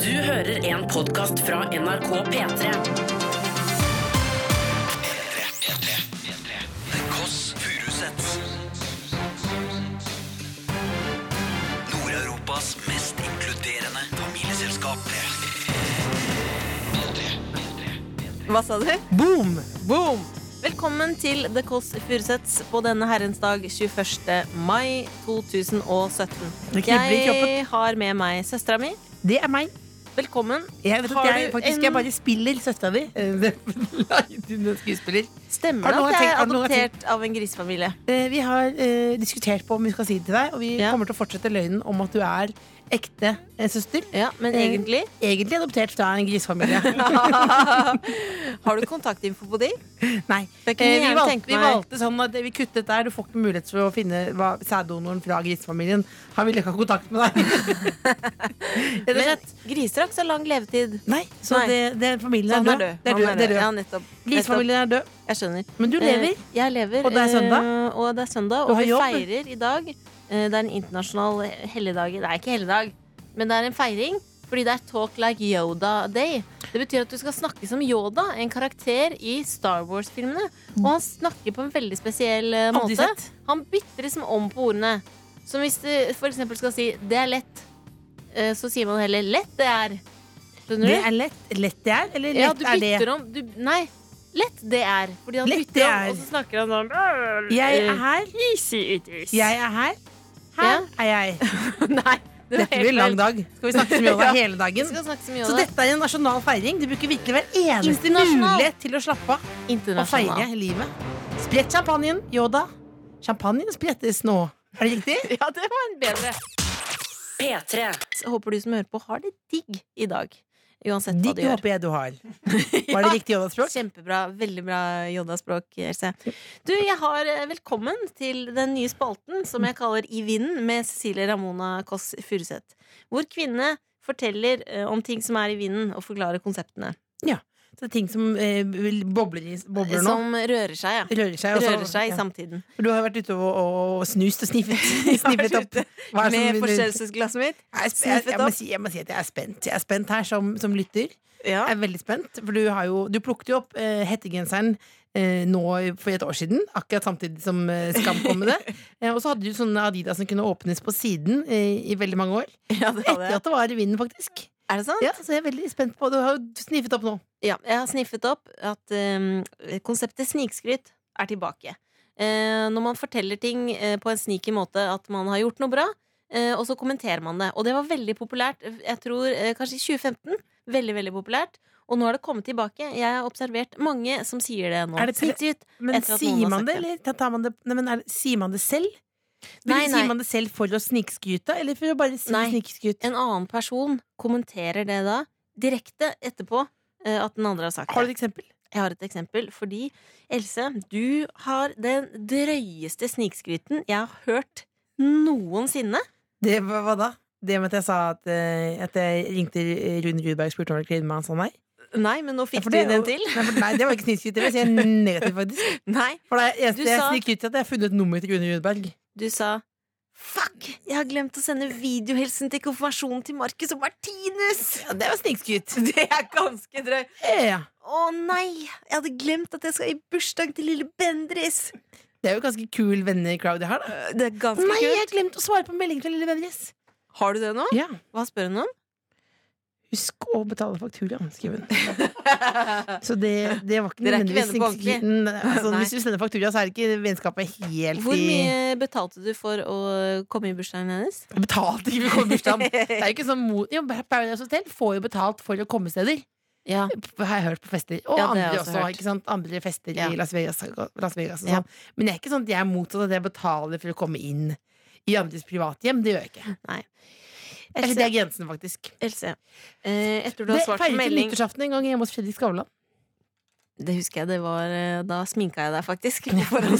Du hører en podkast fra NRK P3. The Koss Furusets Nord-Europas mest inkluderende familieselskap Hva sa du? Boom! Boom! Velkommen til The Kåss Furuseths på denne herrens dag 21. mai 2017. Det kribler i Jeg kroppen. har med meg søstera mi. Det er meg. Velkommen. Jeg vet Har at jeg du faktisk en- jeg bare spiller søstera mi. Eh, skuespiller. Stemmer Har det du noe at jeg er tenkt- har du noe adoptert av en grisefamilie? Eh, Vi har eh, diskutert på om vi skal si det til deg, og vi Ja. kommer til å fortsette løgnen om at du er ekte eh, søster. Ja, men Eh, egentlig Egentlig adoptert fra en grisefamilie. Har du kontaktinfo på de? Nei. Det kunne Eh, jeg vi, gjerne valgte, tenke vi meg. valgte sånn at vi kuttet der. Du får ikke mulighet til å finne hva- sæddonoren fra grisefamilien. Han ville ikke ha kontakt med deg. Rett og Men slett. griser har ikke så lang levetid. Nei, så Nei. Det, det, familien Så er han død. Det er død. Det er Ja, død. nettopp. nettopp. Grisefamilien er død. Jeg skjønner. Men du lever. Eh, Jeg lever. Og det er søndag. eh, Og det er søndag, Du og har vi jobb. feirer i dag. eh, Det er en internasjonal helligdag. Det er ikke helligdag, men det er en feiring. Fordi det er Talk Like Yoda Day. Det betyr at du skal snakke som Yoda, en karakter i Star Wars-filmene. Og han snakker på en veldig spesiell eh, måte. Aldri sett. Han bytter liksom om på ordene. Som hvis du for eksempel skal si 'det er lett', eh, så sier man heller 'lett det er'. Skjønner Det du? er lett. Lett det er, eller lett Ja, du er det? bytter om du, Nei, lett det er Fordi han Lett bytter det om, er. og så snakker han sånn Jeg er her. Jeg er her. Ja. Her er jeg. Nei, det var Dette blir en lang dag. Skal vi snakke så mye om det Ja. hele Vi dagen? skal snakke så mye Så om det dette er en nasjonal feiring. Du bruker virkelig hver eneste Internasjonal. mulighet til å slappe av og feire Internasjonal livet. Sprett champagnen, Yoda. Champagnen sprettes nå. Er det riktig? Ja, det var en bedre P3. Så Håper du som hører på har det digg i dag Uansett hva Digg du gjør håper jeg du har. Var det riktig Yoda-språk? Kjempebra, veldig bra Jodda-språk Else. Du, jeg har eh, velkommen til den nye spalten Som jeg kaller I vinden Med Cecilie Ramona Koss Furuseth Hvor kvinne forteller eh, om ting som er i vinden Og forklarer konseptene Så det er ting som eh, vil- bobler, i, bobler nå. Som rører seg, ja. Rører seg. og så- Rører seg i ja. samtiden. Du har vært ute og, og snust og sniffet, sniffet opp. Hva er det som- Med forstørrelsesglasset mitt. Jeg, er sp- jeg, jeg, Sniffet må opp. si, jeg må si at jeg er spent. Jeg er spent her som, som lytter. Ja. Jeg er veldig spent, for du, har jo, du plukket jo opp eh, hettegenseren eh, nå for et år siden, akkurat samtidig som eh, Skam kom med det. Eh, og så hadde du sånne Adidas som kunne åpnes på siden eh, i veldig mange år. ja, det hadde Etter jeg. at det var i vinden, faktisk. Er det sant? Ja, så jeg er veldig spent på Du har jo sniffet opp nå. Ja, jeg har sniffet opp at ehm, konseptet snikskryt er tilbake. Eh, når man forteller ting eh, på en sneaky måte at man har gjort noe bra, eh, og så kommenterer man det. Og det var veldig populært, jeg tror eh, kanskje i 2015. Veldig, veldig populært. Og nå har det kommet tilbake. Jeg har observert mange som sier det nå. Er det til- Snikskryt. Men Etter at noen sier har man det, sagt eller tar- tar man det, nei, men er, det- sier man det selv? Nei, nei. Sier man det selv for å snikskryte, eller for å bare si Nei. snikskryt? En annen person kommenterer det da direkte etterpå eh, at den andre har sagt Har du det. et eksempel? Jeg har et eksempel, fordi Else, du har den drøyeste snikskryten jeg har hørt noensinne. Det, hva, hva da? Det med at jeg sa at, eh, at jeg ringte Rune Rudberg og spurte om jeg ville kline med han sa nei? Nei, men nå Ja, fikk for du det er den jo- til. Nei, for, nei det var ikke snikskryt. Det vil si negativt, faktisk. Nei, For det er eneste Du jeg sa- snikker ut til at jeg har funnet nummeret til Rune Rudberg. du sa Fuck! Jeg har glemt å sende videohelsen til konfirmasjonen til Marcus og Martinus! Ja, det var snikskryt. Det er ganske drøy. Ja, Å nei! Jeg hadde glemt at jeg skal i bursdag til lille Bendris. det er jo ganske kul venner-crowd jeg har, da. Øh, Det er ganske Nei, jeg kult. har glemt å svare på meldingen fra Lille Bendriss. Har du det nå? Ja. Hva spør hun om? Husk å betale faktura, skriver hun. Så det, det var ikke Dere er ikke nødvendigvis venner på ordentlig? snikskryt. Nei, Altså, Nei. hvis du sender faktura, så er ikke vennskapet helt Hvor i mye betalte du for å komme i bursdagen hennes? Jeg Betalte ikke for bursdagen. Det er jo ikke sånn mot... Jo, Paradise Hotel får jo betalt for å komme steder. Ja, har jeg hørt på fester. Og Ja, det har jeg andre også også, hørt. ikke sant? Andre fester Ja. i Las Vegas, Las Vegas og Ja. sånn. Men det er ikke sånn at jeg er motsatt at jeg betaler for å komme inn i andres privathjem. Det gjør jeg ikke. Eller Else, det er grensen, faktisk. Else eh, jeg tror du Det har svart på feiret jeg melding nyttårsaften en gang hjemme hos Fredrik Skavlan. Det husker jeg, det var eh, Da sminka jeg deg faktisk foran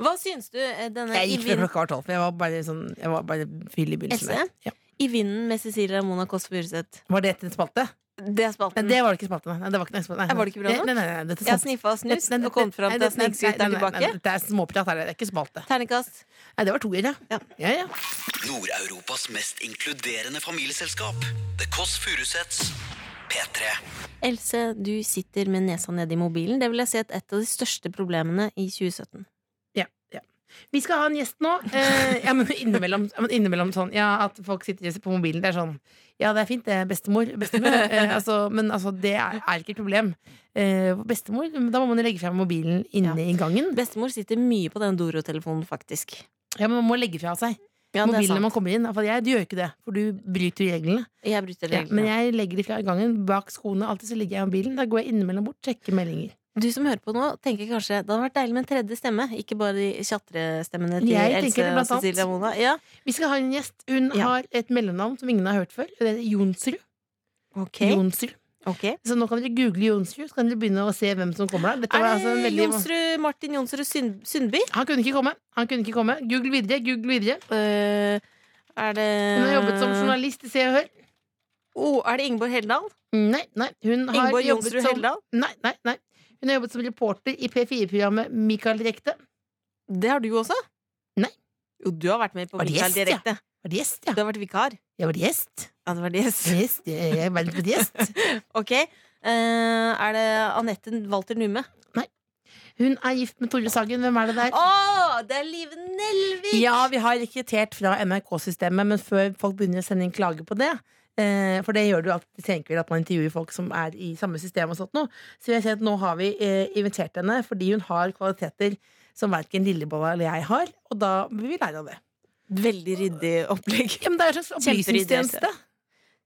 Hva syns du eh, denne Jeg i, gikk før vind, klokka var tolv, for jeg var bare, sånn, jeg var bare fyll i begynnelsen. Else? der. Ja. I vinden med Cecilie Ramona Kåss Furuseth? Var det etter en spalte? Det er spalten. Nei, det var det ikke spalten. Nei, det var ikke, nei, spalten. nei, Eh, Mm. var det ikke bra nok? Nei, nei, nei, dette er Jeg har sånn- sniffa og snust Nei, nei, og kommet fram nei, til at nei, nei, snikskryt nei, er nei, nei, tilbake. nei, Det er småprat her, det er ikke spalte. Terningkast. Nei, det var toer, ja. Ja. ja, ja. Nord-Europas mest inkluderende familieselskap. The Kåss Furuseths. P3. Else, du sitter med nesa nede i mobilen. Det vil jeg si er et av de største problemene i 2017. Ja, ja. Vi skal ha en gjest nå. Eh, ja, men innimellom, ja, men innimellom sånn ja, at folk sitter på mobilen. Det er sånn Ja, det er fint, det. er Bestemor. bestemor eh, altså, men altså, det er, er ikke et problem. Eh, bestemor, da må man jo legge frem mobilen inne i gangen. Bestemor sitter mye på den Doro-telefonen, faktisk. Ja, men Man må legge fra seg Ja, det er mobilen når man sant. kommer inn. For jeg, du gjør ikke det, for du bryter reglene. Jeg bryter Ja, men reglene. jeg legger de fra i gangen, bak skoene. Alltid så ligger jeg i mobilen. Da går jeg innimellom bort, sjekker meldinger. Du som hører på nå, tenker kanskje det hadde vært deilig med en tredje stemme. Ikke bare de tjatrestemmene til Jeg tenker Else det, og blant annet. Cecilia Mona. Ja. Vi skal ha en gjest. Hun Ja. har et mellomnavn som ingen har hørt før. Det er Jonsrud. Ok. Jonsrud. ok. Så nå kan dere google Jonsrud, så kan dere begynne å se hvem som kommer der. Dette Er det var altså en veldig... Jonsrud, Martin Jonsrud Sund- Sundby? Han kunne ikke komme. Han kunne ikke komme. Google videre. Google videre. Eh, er det Hun har jobbet Eh. som journalist i Se og Hør. Oh, er det Ingeborg Heldal? Nei, nei. Hun har Ingeborg jobbet Jonsrud som... Heldal? Nei, nei, nei. Hun har jobbet som reporter i P4-programmet Mikael Direkte. Det har du også? Nei. Jo, du har vært med på Var det Mikael gjest, ja? Direkte. Var det gjest, ja? Du har vært vikar. Jeg var gjest. Ja, det var det. Jeg var gjest. Jeg jeg er verdens beste gjest. Ok. Eh, er det Anette Walter Numme? Hun er gift med Tore Sagen. Hvem er det der? Å, det er Live Nelvik! Ja, vi har rekruttert fra NRK-systemet, men før folk begynner å sende inn klage på det eh, For det gjør du alltid tenker vel at man intervjuer folk som er i samme system og sånt nå. Så jeg ser at nå har vi eh, invitert henne fordi hun har kvaliteter som verken Lillebolla eller jeg har, og da vil vi lære av det. Veldig ryddig opplegg. Ja, men det er en slags opplysningstjeneste.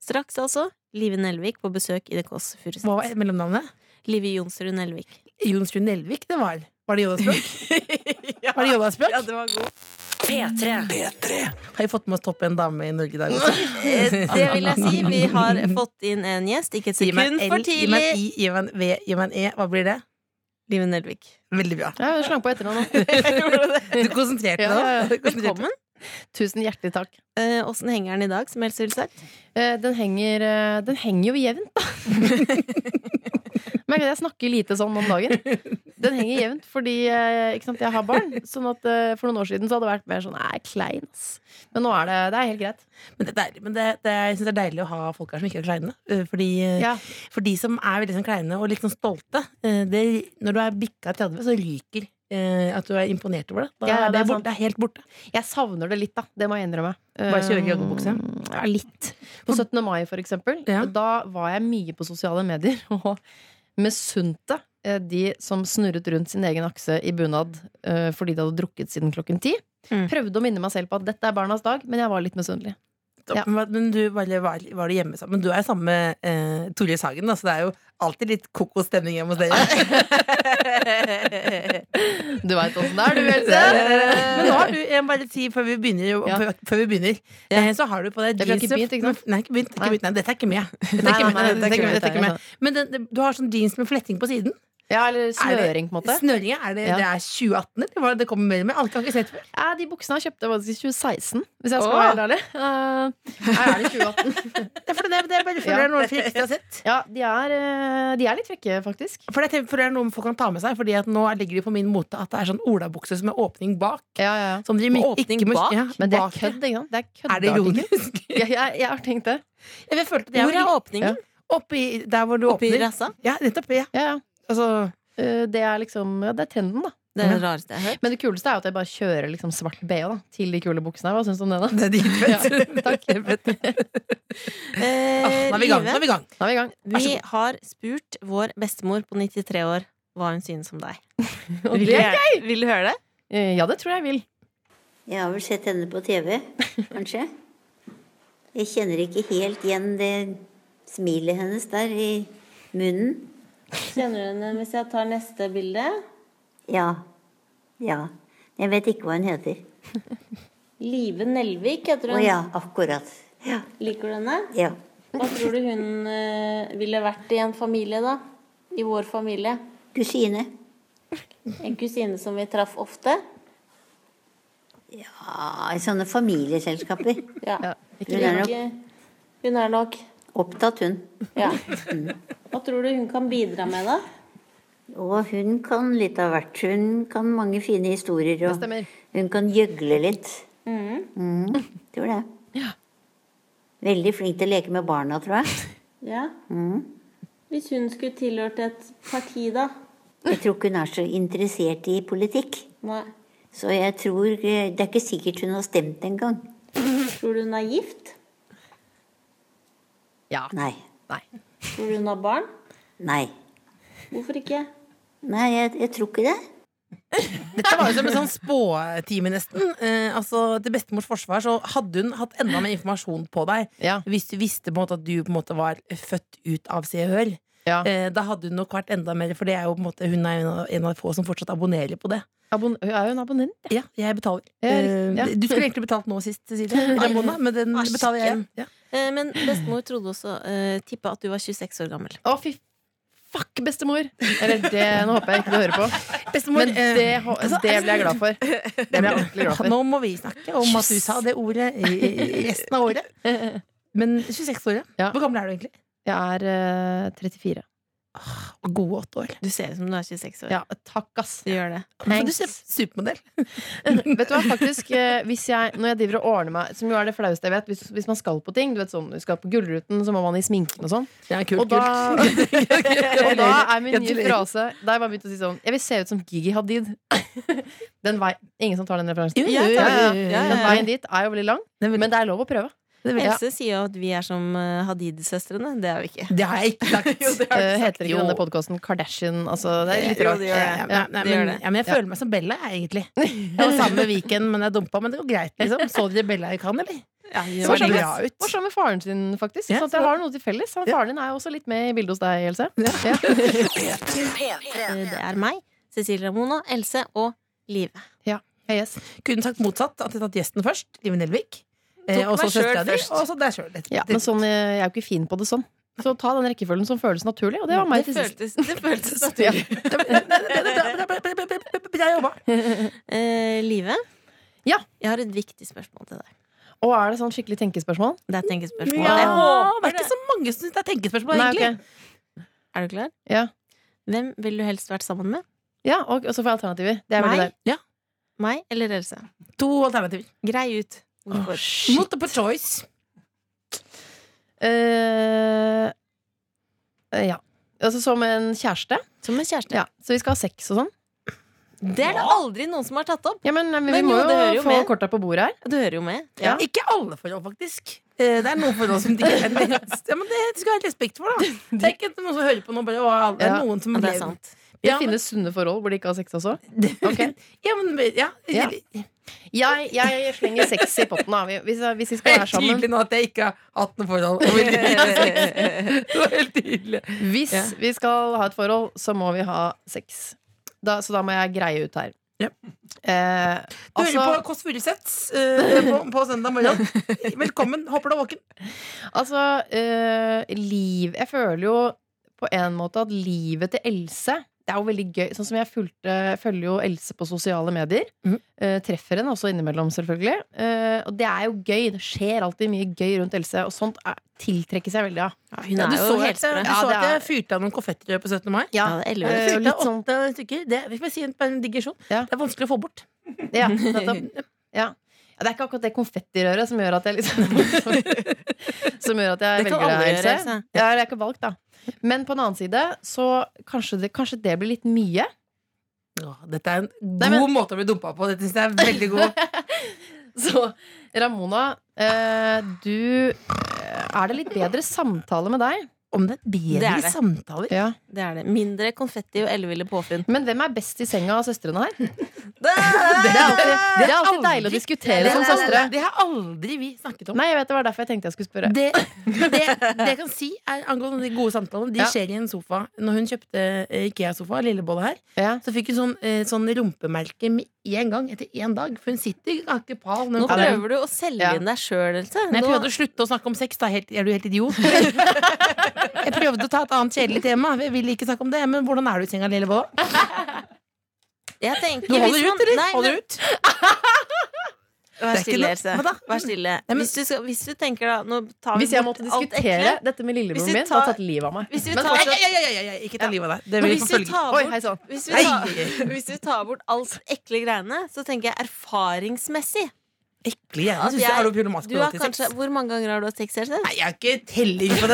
Straks altså Live Nelvik på besøk i The Kåss Hva var Furuseth. mellomnavnet? Live Jonsrud Nelvik. Jon Strun Nelvik, det var. Var det Jonas-språk? ja. Var det Jonas-språk? ja, det var god. P3. P3. Har vi fått med oss topp en dame i Norge i dag også? Eh, Det vil jeg si. Vi har fått inn en gjest. Ikke et Gi meg en sekund L, for Gi meg en tidlig. I, gi meg en V, gi meg en E. Hva blir det? Live Nelvik. Veldig bra. Ja, jeg slang på etternavn nå. Du konsentrerte deg. Ja, ja, ja. Du konsentrerte deg. Velkommen. Tusen hjertelig takk. Eh, Åssen henger den i dag, som Else vil sagt? Eh, Den henger, eh, den henger jo jevnt, da. Merker at jeg snakker lite sånn om dagen. Den henger jevnt fordi eh, ikke sant, jeg har barn. Sånn at eh, For noen år siden så hadde det vært mer sånn Nei, klein, ass. Men nå er det, det er helt greit. Men, det, er- men det, det, jeg synes det er deilig å ha folk her som ikke er kleine. Eh, Fordi, eh, Ja. For de som er veldig sånn kleine og litt sånn stolte eh, det, Når du er bikka 30, så ryker eh, at du er imponert over det. Da, Ja, ja, det, er det er borte, sant. det er helt borte. Jeg savner det litt, da. Det må jeg innrømme. Bare kjøre Eh, joggebukse? Ja, litt. På 17. mai, for eksempel, Ja. da var jeg mye på sosiale medier og misunte eh, de som snurret rundt sin egen akse i bunad eh, fordi de hadde drukket siden klokken ti. Mm. Prøvde å minne meg selv på at dette er barnas dag, men jeg var litt misunnelig. Ja. Men, men du bare var, var du hjemme sammen? Men du er sammen med eh, Tore Sagen, da, så det er jo alltid litt koko stemning hjemme hos dere. Du veit åssen det er, du, Det er- Else! Men nå har du, jeg må bare si før vi begynner, jo- Ja. før, før vi begynner eh, Så har du på deg Ja, vi har ikke begynt, ikke sant? Nei, ikke begynt, ikke Nei. begynt. Nei, dette er ikke med. Dette er Nei, ikke med, nei, nei, nei, dette er ikke med, dette er ikke med. jeg Men den, den- du har sånn jeans med fletting på siden. Ja, eller snøring, på en måte. Snøringa, er det, Ja. det er 2018, eller hva det kommer mer med? Alt har jeg ikke sett før. Ja, de buksene jeg kjøpte, var i 2016, hvis jeg skal Åh! være helt ærlig. Eh, nei, er det 2018? Det er fordi det, det er bare for Ja. det er noe folk ikke har sett. Ja, de er, eh, de er litt frekke, faktisk. For det, er tenkt- for det er noe folk kan ta med seg, Fordi at nå ligger det på min mote at det er sånn olabukse som er åpning bak. Ja, ja, ja. Som de Med ikke åpning bak? Ja, Men det er bak. kødd, ikke sant? Det er kødd Er det ironisk? Jeg, jeg, jeg har tenkt det. Jeg følte det Hvor er var åpningen? oppi der hvor du Oppi åpner. rassa? Ja, nettopp. Ja. Ja, ja. Altså, Eh, Det er liksom ja, Det er trenden, da. Det er det rareste jeg har hørt. Men det kuleste er jo at jeg bare kjører liksom svart BH da til de kule buksene. her. Hva syns du om det, da? det er dritfett. takk. Eh, Ah, Nå er vi i gang. Live, Nå er vi i gang. Da er vi i gang. vi har spurt vår bestemor på 93 år hva hun synes om deg. Og Vil du, det- gjerne- vil du høre det? Eh, Ja, det tror jeg jeg vil. Jeg har vel sett henne på TV, kanskje. Jeg kjenner ikke helt igjen det smilet hennes der i munnen. Kjenner du henne hvis jeg tar neste bilde? Ja. Ja. Jeg vet ikke hva hun heter. Live Nelvik heter Å ja, akkurat. Ja. Liker du henne? ja. Hva tror du hun eh, ville vært i en familie, da? I vår familie. Kusine. En kusine som vi traff ofte. Ja, i sånne familieselskaper. Ja, ikke Hun er nok Hun er nok Opptatt, hun. Ja. Hva tror du hun kan bidra med, da? Og hun kan litt av hvert. Hun kan mange fine historier. Det Og stemmer. hun kan gjøgle litt. Mm, tror det. Veldig flink til å leke med barna, tror jeg. Ja. Hvis hun skulle tilhørt et parti, da? Jeg tror ikke hun er så interessert i politikk. Nei. Så jeg tror eh, Det er ikke sikkert hun har stemt engang. Tror du hun er gift? Ja. Nei. Nei. Tror du hun har barn? Nei. Hvorfor ikke? Nei, jeg, jeg tror ikke det. Dette var jo som en sånn spåtime, nesten. Eh, altså, til bestemors forsvar så hadde hun hatt enda mer informasjon på deg Ja. hvis du visste på en måte at du på en måte var født ut av Se og Hør. ja. Eh, da hadde hun nok vært enda mer, for det er jo på en måte, hun er en av, en av de få som fortsatt abonnerer på det. Abon er hun abonnent? Ja, jeg betaler. Ja, riktig. Ja. Eh, Du skulle egentlig betalt nå sist, Cecilie, Ai. den måneden, men den Asken. betaler jeg. Ja. Eh, Men bestemor trodde også eh, tippa at du var 26 år gammel. Å, fy fuck, bestemor! Eller det, nå håper jeg ikke du hører på. Bestemor, Men eh, det, ho- det ble jeg glad for. Det ble jeg ordentlig glad for. Nå må vi snakke om at du sa det ordet i, i i resten av året. Men 26 år, ja. Ja. Hvor gammel er du egentlig? Jeg er eh, 34. Gode åtte år. Du ser ut som du er 26 år. Ja, takk, ass. Du gjør det. For du Thanks. ser supermodell. Vet du hva, faktisk eh, hvis jeg, Når jeg driver og ordner meg Som jo er det flaueste jeg vet Hvis, hvis man skal på ting Du vet sånn Du skal på gullruten Så må man i sminken og sånn Ja, kult, Og da, kult. og da er min nye Gratulerer. frase Da har jeg bare begynt å si sånn Jeg vil se ut som Gigi Hadid Den vei Ingen som tar den referansen Jo, jo, jo, jo, jo, jo. Den veien dit er jo veldig lang Det er veldig- Men det er lov å prøve ja. Else sier jo at vi er som eh, Hadid-søstrene. Det er vi ikke. Det har jeg ikke sagt. Eh, Heter ikke Jo. denne podcasten Kardashian Altså det er litt Jo, rart det gjør Ja, det. ja, nei, det gjør men, det. ja, men jeg føler meg som Bella, jeg, egentlig. Jeg var sammen med Viken, men jeg dumpa. Men det går greit, liksom. Så dere Bella i Cannes, eller? Så Så veldig var sammen- bra ut. Var sammen med faren sin faktisk Ja, Så at jeg har noe til felles Han Faren din er jo også litt med i bildet hos deg, Else Ja. Eh, Det er meg, Cecilie Ramona, Else og Live. Ja, yes. Kunne sagt motsatt. At jeg tatt gjesten først. Live Nelvik. eh, Tok Og så meg selv søstera di. først. Og så deg sjøl. Ja, men sånn, eh, jeg er jo ikke fin på det sånn. Så ta den rekkefølgen som føles naturlig, og det var meg Det til sist. føltes, det føltes som Ja. Bra jobba. Eh, Live? Ja. Jeg har et viktig spørsmål til deg. Og er det sånn skikkelig tenkespørsmål? Det er et tenkespørsmål. Ja, Jeg det håper er ikke så mange som syns det er tenkespørsmål, Nei, egentlig. ok. Er du klar? Ja. Hvem ville du helst vært sammen med? ja, og, og så får jeg alternativer. Det er veldig Meg? deilig. Ja, Meg eller Else? To alternativer. Grei ut. Hvorfor? Multiple choice. Eh, eh, ja. Altså som en kjæreste. Som en kjæreste. Ja. Så vi skal ha sex og sånn. Det er det aldri noen som har tatt opp. Ja, men eh, vi Men må jo, jo, det hører jo få med. korta på bordet her. Du hører jo med. Ja. Ikke alle forhold, faktisk. Eh, Det er noen forhold som de ikke er ja, men Det skal jeg ha respekt for, da. Det er ikke noen som hører på nå, bare å, det er Ja, noen som Og det lever- er sant. Det Ja, men- finnes sunne forhold hvor de ikke har sex også. Ok. Ja, men ja. Ja. Jeg, jeg slenger sex i potten, da. Vi- Hvis, hvis vi skal være sammen. nå at jeg ikke har hatt noe forhold. Det var helt tydelig. Hvis Ja. vi skal ha et forhold, så må vi ha sex. Da, så da må jeg greie ut her. Ja. Eh, Du hører altså, på Kåss Furuseths eh, på, på søndag morgen. Velkommen. Håper du er våken. altså eh, liv Jeg føler jo på en måte at livet til Else det er jo veldig gøy. Sånn som Jeg fulgte, følger jo Else på sosiale medier. Mhm. Eh, treffer henne også innimellom, selvfølgelig. Eh, og det er jo gøy. Det skjer alltid mye gøy rundt Else, og sånt er, tiltrekkes jeg veldig av. Hun du er så jo at helt jeg- sprø. du Ja, så det at jeg er- fyrte av noen konfettirør på 17. mai. Ja, det er elleve. Eh, Jeg og fyrte litt av åtte stykker. Det vil jeg si en, en digresjon. Ja. Det er vanskelig å få bort. Ja, nettopp. Ja. Ja, det er ikke akkurat det konfettirøret som gjør at jeg liksom Som gjør at jeg Det kan velger alle deg, gjøre, Else. Else. Ja, eller jeg har ikke valgt, da. Men på den annen side, så kanskje det, kanskje det blir litt mye. Åh, dette er en god Nei, men- måte å bli dumpa på. Dette synes jeg er veldig god. Så Ramona, eh, du eh, Er det litt bedre samtale med deg? Om det er Det bedre er det. samtaler. Ja. Det er det. Mindre konfetti og elleville påfunn. Men hvem er best i senga av søstrene her? Det Det er alltid, det er alltid deilig å Det, diskutere sånn, som søstre. det har aldri vi snakket om. Nei, jeg vet det var derfor jeg tenkte jeg skulle spørre. Det, det, det jeg kan si er angående de gode samtalene, de Ja. skjer i en sofa. Når hun kjøpte eh, Ikea-sofa, lillebolla her, Ja. så fikk hun sånn, eh, sånn rumpemerke med én gang etter én dag. For hun sitter ikke pal. Nå Når hun kommer hjem. prøver du å selge Ja. inn deg sjøl, Else. Men jeg Nå- prøvde å slutte å snakke om sex. Da. Helt, er du helt idiot? jeg prøvde å ta et annet kjedelig tema. Jeg vil ikke snakke om det. Men hvordan er du i senga, lillebolla? Jeg tenker, Du holder hvis man- ut, eller? Nei, holder men- ut? Vær Det er ikke stille, noe- Else. Hva da? Vær stille. Nei, men- Hvis, du skal, hvis du tenker da Nå tar vi Hvis jeg bort måtte alt diskutere ekle. dette med Hvis lillebroren vi min, så hadde tar- tatt livet av meg. Hvis vi Men tar- Ei, ei, ei, ei, ei, Ikke ta livet av deg. Det Men vil hvis vi forfølge. tar Oi, bort- hei sann. Hvis Nei. vi, tar, hvis vi tar bort alt ekle greiene, så tenker jeg erfaringsmessig Ekle hjerne. at Synes jeg, jeg- er du problematisk du i har forhold til kanskje, sex? Hvor mange ganger har du hatt sex, Else? Nei, jeg har ikke telling på det,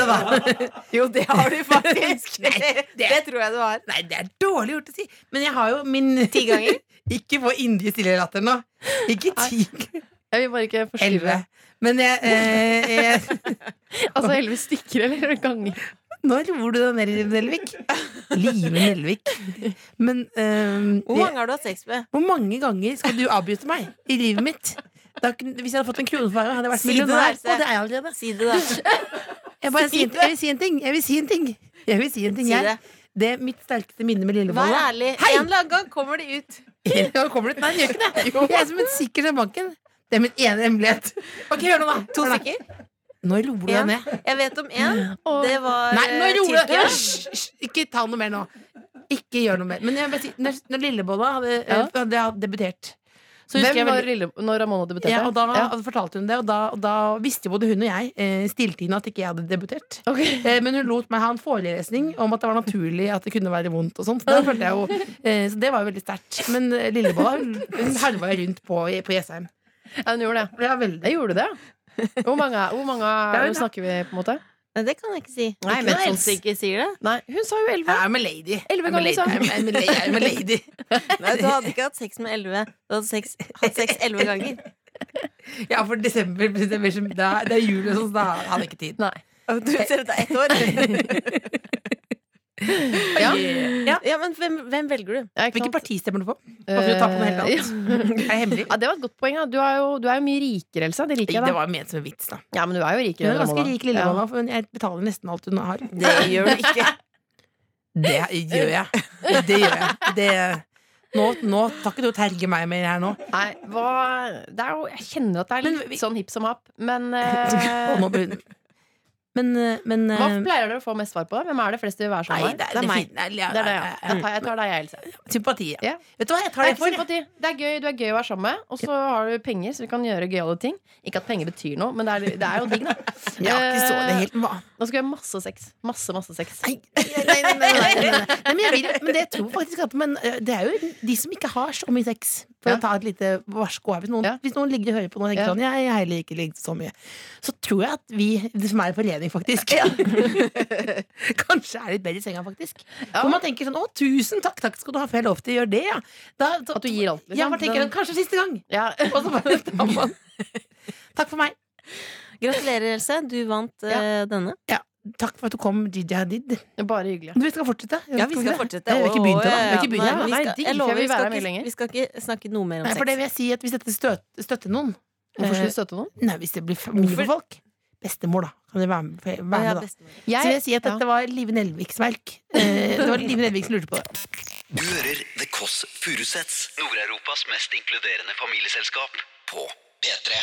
da. Jo, det har du faktisk. Nei, det, Det tror jeg du har. nei, det er dårlig gjort å si. Men jeg har jo min Ti ganger. Ikke få indre stille latter nå. Ikke ti. Jeg vil bare ikke forstyrre. Elleve. Men jeg, eh, jeg Altså elleve stykker eller ganger. Nå roer du deg ned, Liv Nelvik. Live Nelvik. Men eh, Hvor mange har du hatt sex med? Hvor mange ganger skal du avbryte meg i livet mitt? Det er ikke- hvis jeg hadde fått en krone for hver gang, hadde jeg vært Si det, millionær. Else. Og det er jeg allerede. Si det, da. Jeg, bare, sier- jeg vil si en ting. Jeg vil si en ting. Jeg vil si en ting Si jeg. det. Det er mitt sterkeste minne med Vær Lillevolle. ærlig. Hei! En eller annen gang kommer de ut. Ja, kommer det ut? Nei, den gjør ikke det. Jeg er som en sikker som banken. Det er min ene hemmelighet. Ok, hør nå, da. To Hør nå. stykker. Nå roer du deg Ja. ned. Jeg vet om én. Det var Nei, nå eh, roer du deg Tyrkia. Hysj, hysj, Ikke ta noe mer nå. Ikke gjør noe mer. Men jeg vil si, når, når Lillebolla hadde, eh, Ja. hadde jeg debutert så husker Hvem jeg var veldig- lille, når Ramona debuterte? Ja, og da Ja. fortalte hun det, og da, og da visste både hun og jeg eh, stilltiende at ikke jeg hadde debutert. Ok. Eh, men hun lot meg ha en forelesning om at det var naturlig at det kunne være vondt. og sånt. Så, da følte jeg jo, eh, så det var jo veldig sterkt. Men eh, Lillebolla hun hun herva jeg rundt på, på Jessheim. Ja, hun gjorde det. Ja, veldig. Jeg gjorde det, ja. Hvor mange, hvor mange Ja, hun- hvor snakker vi, på en måte? Nei, det kan jeg ikke si. Nei, Ikke men når sånn- Else ikke sier det. Nei, hun sa jo elleve. Jeg er med lady. Jeg Elleve er med ganger, liksom. sa hun. lady. Jeg er med lady. Jeg er med lady. Nei, du hadde ikke hatt sex med elleve. Du hadde sex, hatt sex elleve ganger. Ja, for desember, desember som- det, er, det er jul og sånn, så da hadde jeg ikke tid. Nei. Du ser ut til ett år. Ja. Ja, ja men hvem, hvem velger du? Ja, ikke Hvilket sant? parti stemmer du på? Bare for å ta på noe helt Eh, annet. Er det hemmelig? Ja, det var et godt poeng. Ja. Du, er jo, du er jo mye rikere, Elsa. Det Det liker jeg. da var jo ment som en vits, da. Ja, men du er jo Hun rikere er enn ganske Ramona. rik, Lillebolla, for hun- jeg betaler nesten alt hun har. Det gjør du ikke. Det gjør jeg. Det gjør jeg. Det, nå, nå tar ikke du og terger meg mer her nå. Ja. Nei, hva det er jo, Jeg kjenner at det er Men litt vi- sånn hipp som happ, men Og eh, nå begynner- men, eh, men eh, Hva pleier dere å få mest svar på? Hvem er det flest vil være Nei, sammen det med? er, det er meg. Nei, jeg- Det er det, ja. jeg- Jeg jeg- tar, jeg tar deg, jeg, Else. Sympati. Ja. Ja. Vet du hva, jeg tar Det er det ikke for. sympati. Det er gøy, du er gøy å være sammen med, og så har du penger, så du kan gjøre gøyale ting. Ikke at penger betyr noe, men det er, det er jo digg, da. Ja, ikke så Eh, det er helt hva? Nå skal vi ha masse sex. Masse, masse sex. Nei, nei, nei, nei, nei, nei, nei. nei men, jeg vil, men det tror jeg faktisk at Men eh, det er jo de som ikke har så mye sex. For Ja. å ta et lite varsko her hvis noen, Ja. hvis noen ligger og hører på noen og tenker Ja. sånn Jeg jeg heller ikke ligger så mye. Så tror jeg at vi, det som er i forledning, faktisk Kanskje er litt bedre i senga, faktisk. Ja. Hvor man tenker sånn Å, tusen takk, takk skal du ha, får jeg lov til å gjøre det, ja. Da, så- At du gir alt, liksom. Ja, man tenker Den- kanskje siste gang. Ja. Og så bare tar man Takk for meg. Gratulerer, Else. Du vant eh, denne. Takk for at du kom, Gigi Hadid. Bare hyggelig. Du, vi skal fortsette. vi det? fortsette. Nei, vi har ikke begynt ennå. Vi har ikke begynt ennå. Nei, Nei, vi skal, jeg digg, for jeg lover, vil vi være skal, med ikke, lenger. vi skal ikke snakke noe mer om Nei, for det sex. vil jeg si at hvis dette støt, støtter noen Hvorfor Eh, skulle du støte noen? Nei, hvis det blir for mye for folk Bestemor, da. Kan dere være med, være Å, ja, med da? bestemor. Så vil jeg si at Ja. dette var Live Nelviks verk. Eh, Det var Live Nelvik som lurte på det. Du hører The Kåss Furuseths, Nord-Europas mest inkluderende familieselskap, på P3.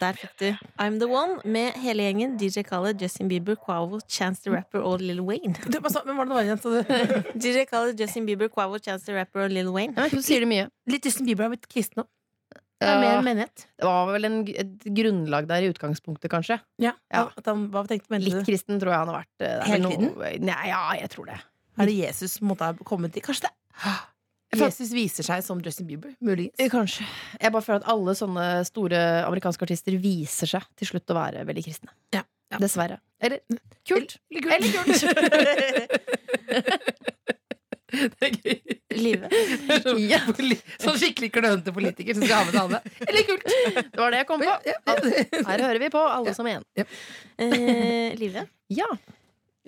Der fikk du I'm The One med hele gjengen. DJ Khaled, Justin Bieber, Quavo, Chance the Rapper og Lil Wayne. Du, hva sa- Hvem var det det var igjen? sa du? DJ Khaled, Justin Bieber, Quavo, Chance the Rapper og Lil Wayne. Jeg vet ikke, du sier det mye. Litt Justin Bieber har blitt kristen nå. Det er mer en menighet. Det var vel en, et grunnlag der i utgangspunktet, kanskje. Ja, Ja. At han, hva tenkte mente Litt du? kristen tror jeg han har vært. eh, det er Hele vel Nei, ja, jeg tror det. Er det Jesus som måtte ha kommet til? Kanskje det Jesus viser seg som Justin Bieber, muligens. Eh, Kanskje. Jeg bare føler at alle sånne store amerikanske artister viser seg til slutt å være veldig kristne. Ja, ja. Mm. Dessverre. Eller kult. Eller kult! Live. Ja, Poli- Sånn skikkelig klønete politiker som skal ha med seg alle. Eller kult! det var det jeg kom på. Her hører vi på alle som en. Eh, Live, Ja,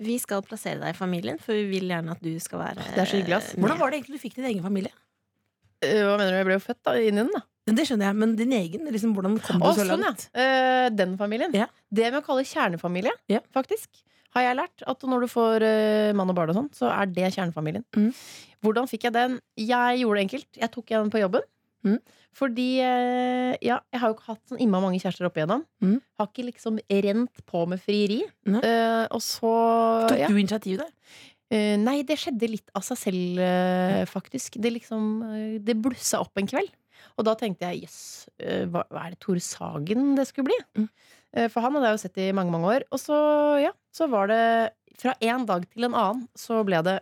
vi skal plassere deg i familien, for vi vil gjerne at du skal være Det er så hyggelig, ass. eh, med. Hvordan var det egentlig du fikk din egen familie? Eh, Hva mener du? Jeg ble jo født da, inn i den, da. Det skjønner jeg, men din egen? Liksom, hvordan kom du Å, så sånn, ja. langt? Eh, Den familien. Ja. Det med å kalle kjernefamilie, Ja. faktisk, har jeg lært. At når du får eh, mann og barn og sånn, så er det kjernefamilien. Mm. Hvordan fikk jeg den? Jeg gjorde det enkelt. Jeg tok den på jobben. Mm. Fordi eh, ja, jeg har jo ikke hatt sånn imma mange kjærester opp igjennom. Mm. Har ikke liksom rent på med frieri. Nei. Eh, og så Tok ja. du initiativet der? Eh, nei, det skjedde litt av seg selv, eh, faktisk. Det liksom eh, Det blussa opp en kveld. Og da tenkte jeg jøss, eh, hva, hva er det Tore Sagen det skulle bli? Eh, For han hadde jeg jo sett i mange, mange år. Og så, ja, så var det fra en dag til en annen så ble det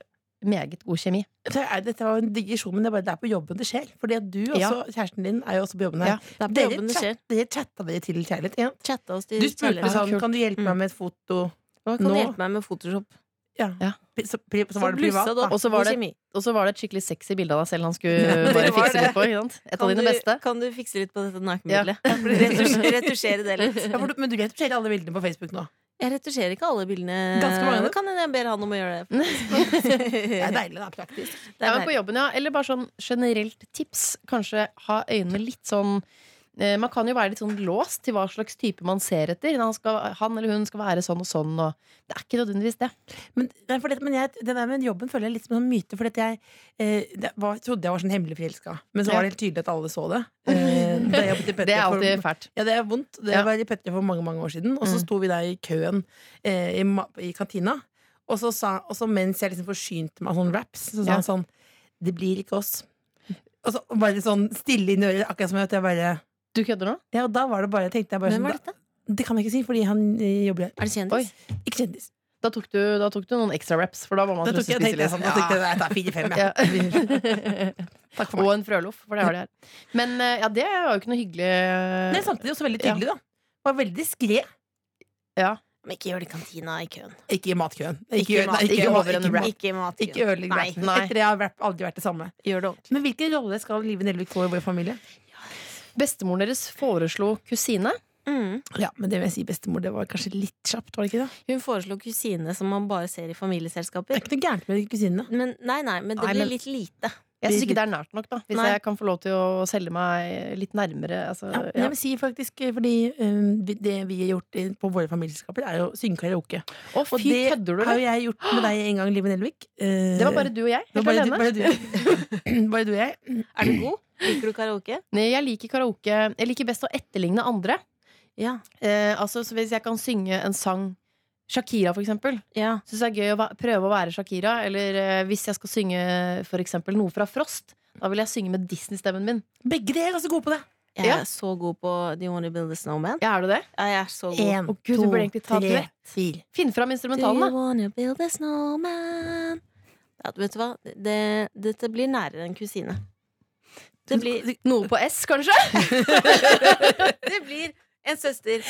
meget god kjemi. Så er, dette var en digresjon, men det er, bare, det er på jobben det skjer. Fordi at du også, Ja. kjæresten din, er jo også på jobben her. Ja, Det er på Dere, jobben det skjer. chat, dere chatta dere til kjærlighet? Ja. Chatta oss til Du spurte kjærlighet. sånn, kult. kan du hjelpe meg Mm. med et foto? Hva kan nå- du hjelpe meg med Photoshop? Ja. Ja. Pri- Så, pri- så Så var det blussa privat, du opp da. Og så var god det- kjemi. Og så var det et skikkelig sexy bilde av deg selv han Ja, skulle det bare var fikse det. litt på. Ikke sant? Et av Kan dine du- beste. Kan du fikse litt på dette nakenbildet? Retusjere, retusjere det litt. Ja, for du, men du retusjerer alle bildene på Facebook nå. Jeg retusjerer ikke alle bildene. Ganske mange, da. Det kan hende jeg ber han om å gjøre det. Det er deilig, da. Praktisk. Det Ja, er men på deilig. jobben, ja. Eller bare sånn generelt tips. Kanskje ha øynene litt sånn eh, Man kan jo være litt sånn låst til hva slags type man ser etter. Han, skal, han eller hun skal være sånn og sånn. Og det er ikke nødvendigvis det. Men, nei, for det, men jeg, det der med jobben føler jeg litt som en sånn myte. For jeg eh, det var, trodde jeg var sånn hemmelig forelska, men så Ja. var det helt tydelig at alle så det. Eh, da jeg jobbet i Petter Det er for- alltid fælt. Ja, det er vondt. Det Ja. var i Petter for mange mange år siden. Og så Mm. sto vi der i køen eh, i, ma- i kantina. Og så, sa, og så mens jeg liksom forsynte meg av sånn raps, så sa Ja. han sånn Det blir ikke oss. Og så bare sånn stille inn i øret, akkurat som at jeg bare Du kødder nå? Ja, og da var det bare, tenkte jeg bare Hvem var sånn, da- Det kan jeg ikke si, fordi han eh, jobber her. Er det Oi. kjendis? Ikke kjendis. Da tok du, da tok du noen ekstra raps, for da var man Da tok jeg, tenkte jeg sånn, da tenkte jeg, jeg tar fire-fem, jeg. Ja. Takk for meg. Og en frøloff, for det har de her. Men eh, ja, det var jo ikke noe hyggelig. eh, Men samtidig også veldig tydelig, da. Var veldig diskré. Ja. Men ikke gjør det i kantina i køen. Ikke i matkøen. Ikke i mat- nei, ikke over en ikke- wrap. Ikke i matkøen. Ikke ødelegg Nei, rappen. nei. Etter det har rap aldri vært det samme. Gjør det ordentlig. Men hvilken rolle skal Live Nelvik få i vår familie? Bestemoren deres foreslo kusine. Mm. Ja, men det vil jeg si bestemor, det var kanskje litt kjapt, var det ikke det? Hun foreslo kusine som man bare ser i Det er familieselskaper. ikke noe gærent med kusinene. Men, nei, nei, men det Nei, blir men- litt lite. Jeg syns ikke det er nært nok, da. Hvis Nei. jeg kan få lov til å selge meg litt nærmere. Altså, Ja, men ja. jeg vil si faktisk, eh, fordi eh, vi- det vi har gjort i- på våre familieselskaper, er jo å synge karaoke. Å, Og fy, det kødder du, har eller? jo jeg gjort med deg en gang, Live Nelvik. Eh, Det var bare du og jeg. det Helt var bare du, alene. bare du, bare du og jeg. Er du god? Liker du karaoke? Nei, Jeg liker karaoke Jeg liker best å etterligne andre. Ja. Eh, altså, så Hvis jeg kan synge en sang Shakira, for eksempel. ja. Syns det er gøy å va- prøve å være Shakira. Eller eh, hvis jeg skal synge for eksempel, noe fra Frost, da vil jeg synge med Disney-stemmen min. Begge dere er ganske gode på det. Jeg er Ja. så god på Do you wanna build a snowman? Ja, er du det? Ja, jeg er så god. En, Å, Gud, du burde egentlig ta duett. fire. Finn fram Do you instrumentalene. wanna build a snowman? Ja, vet du hva? Det, dette blir nærere enn kusine. Det blir, Noe på S, kanskje? det blir en søster.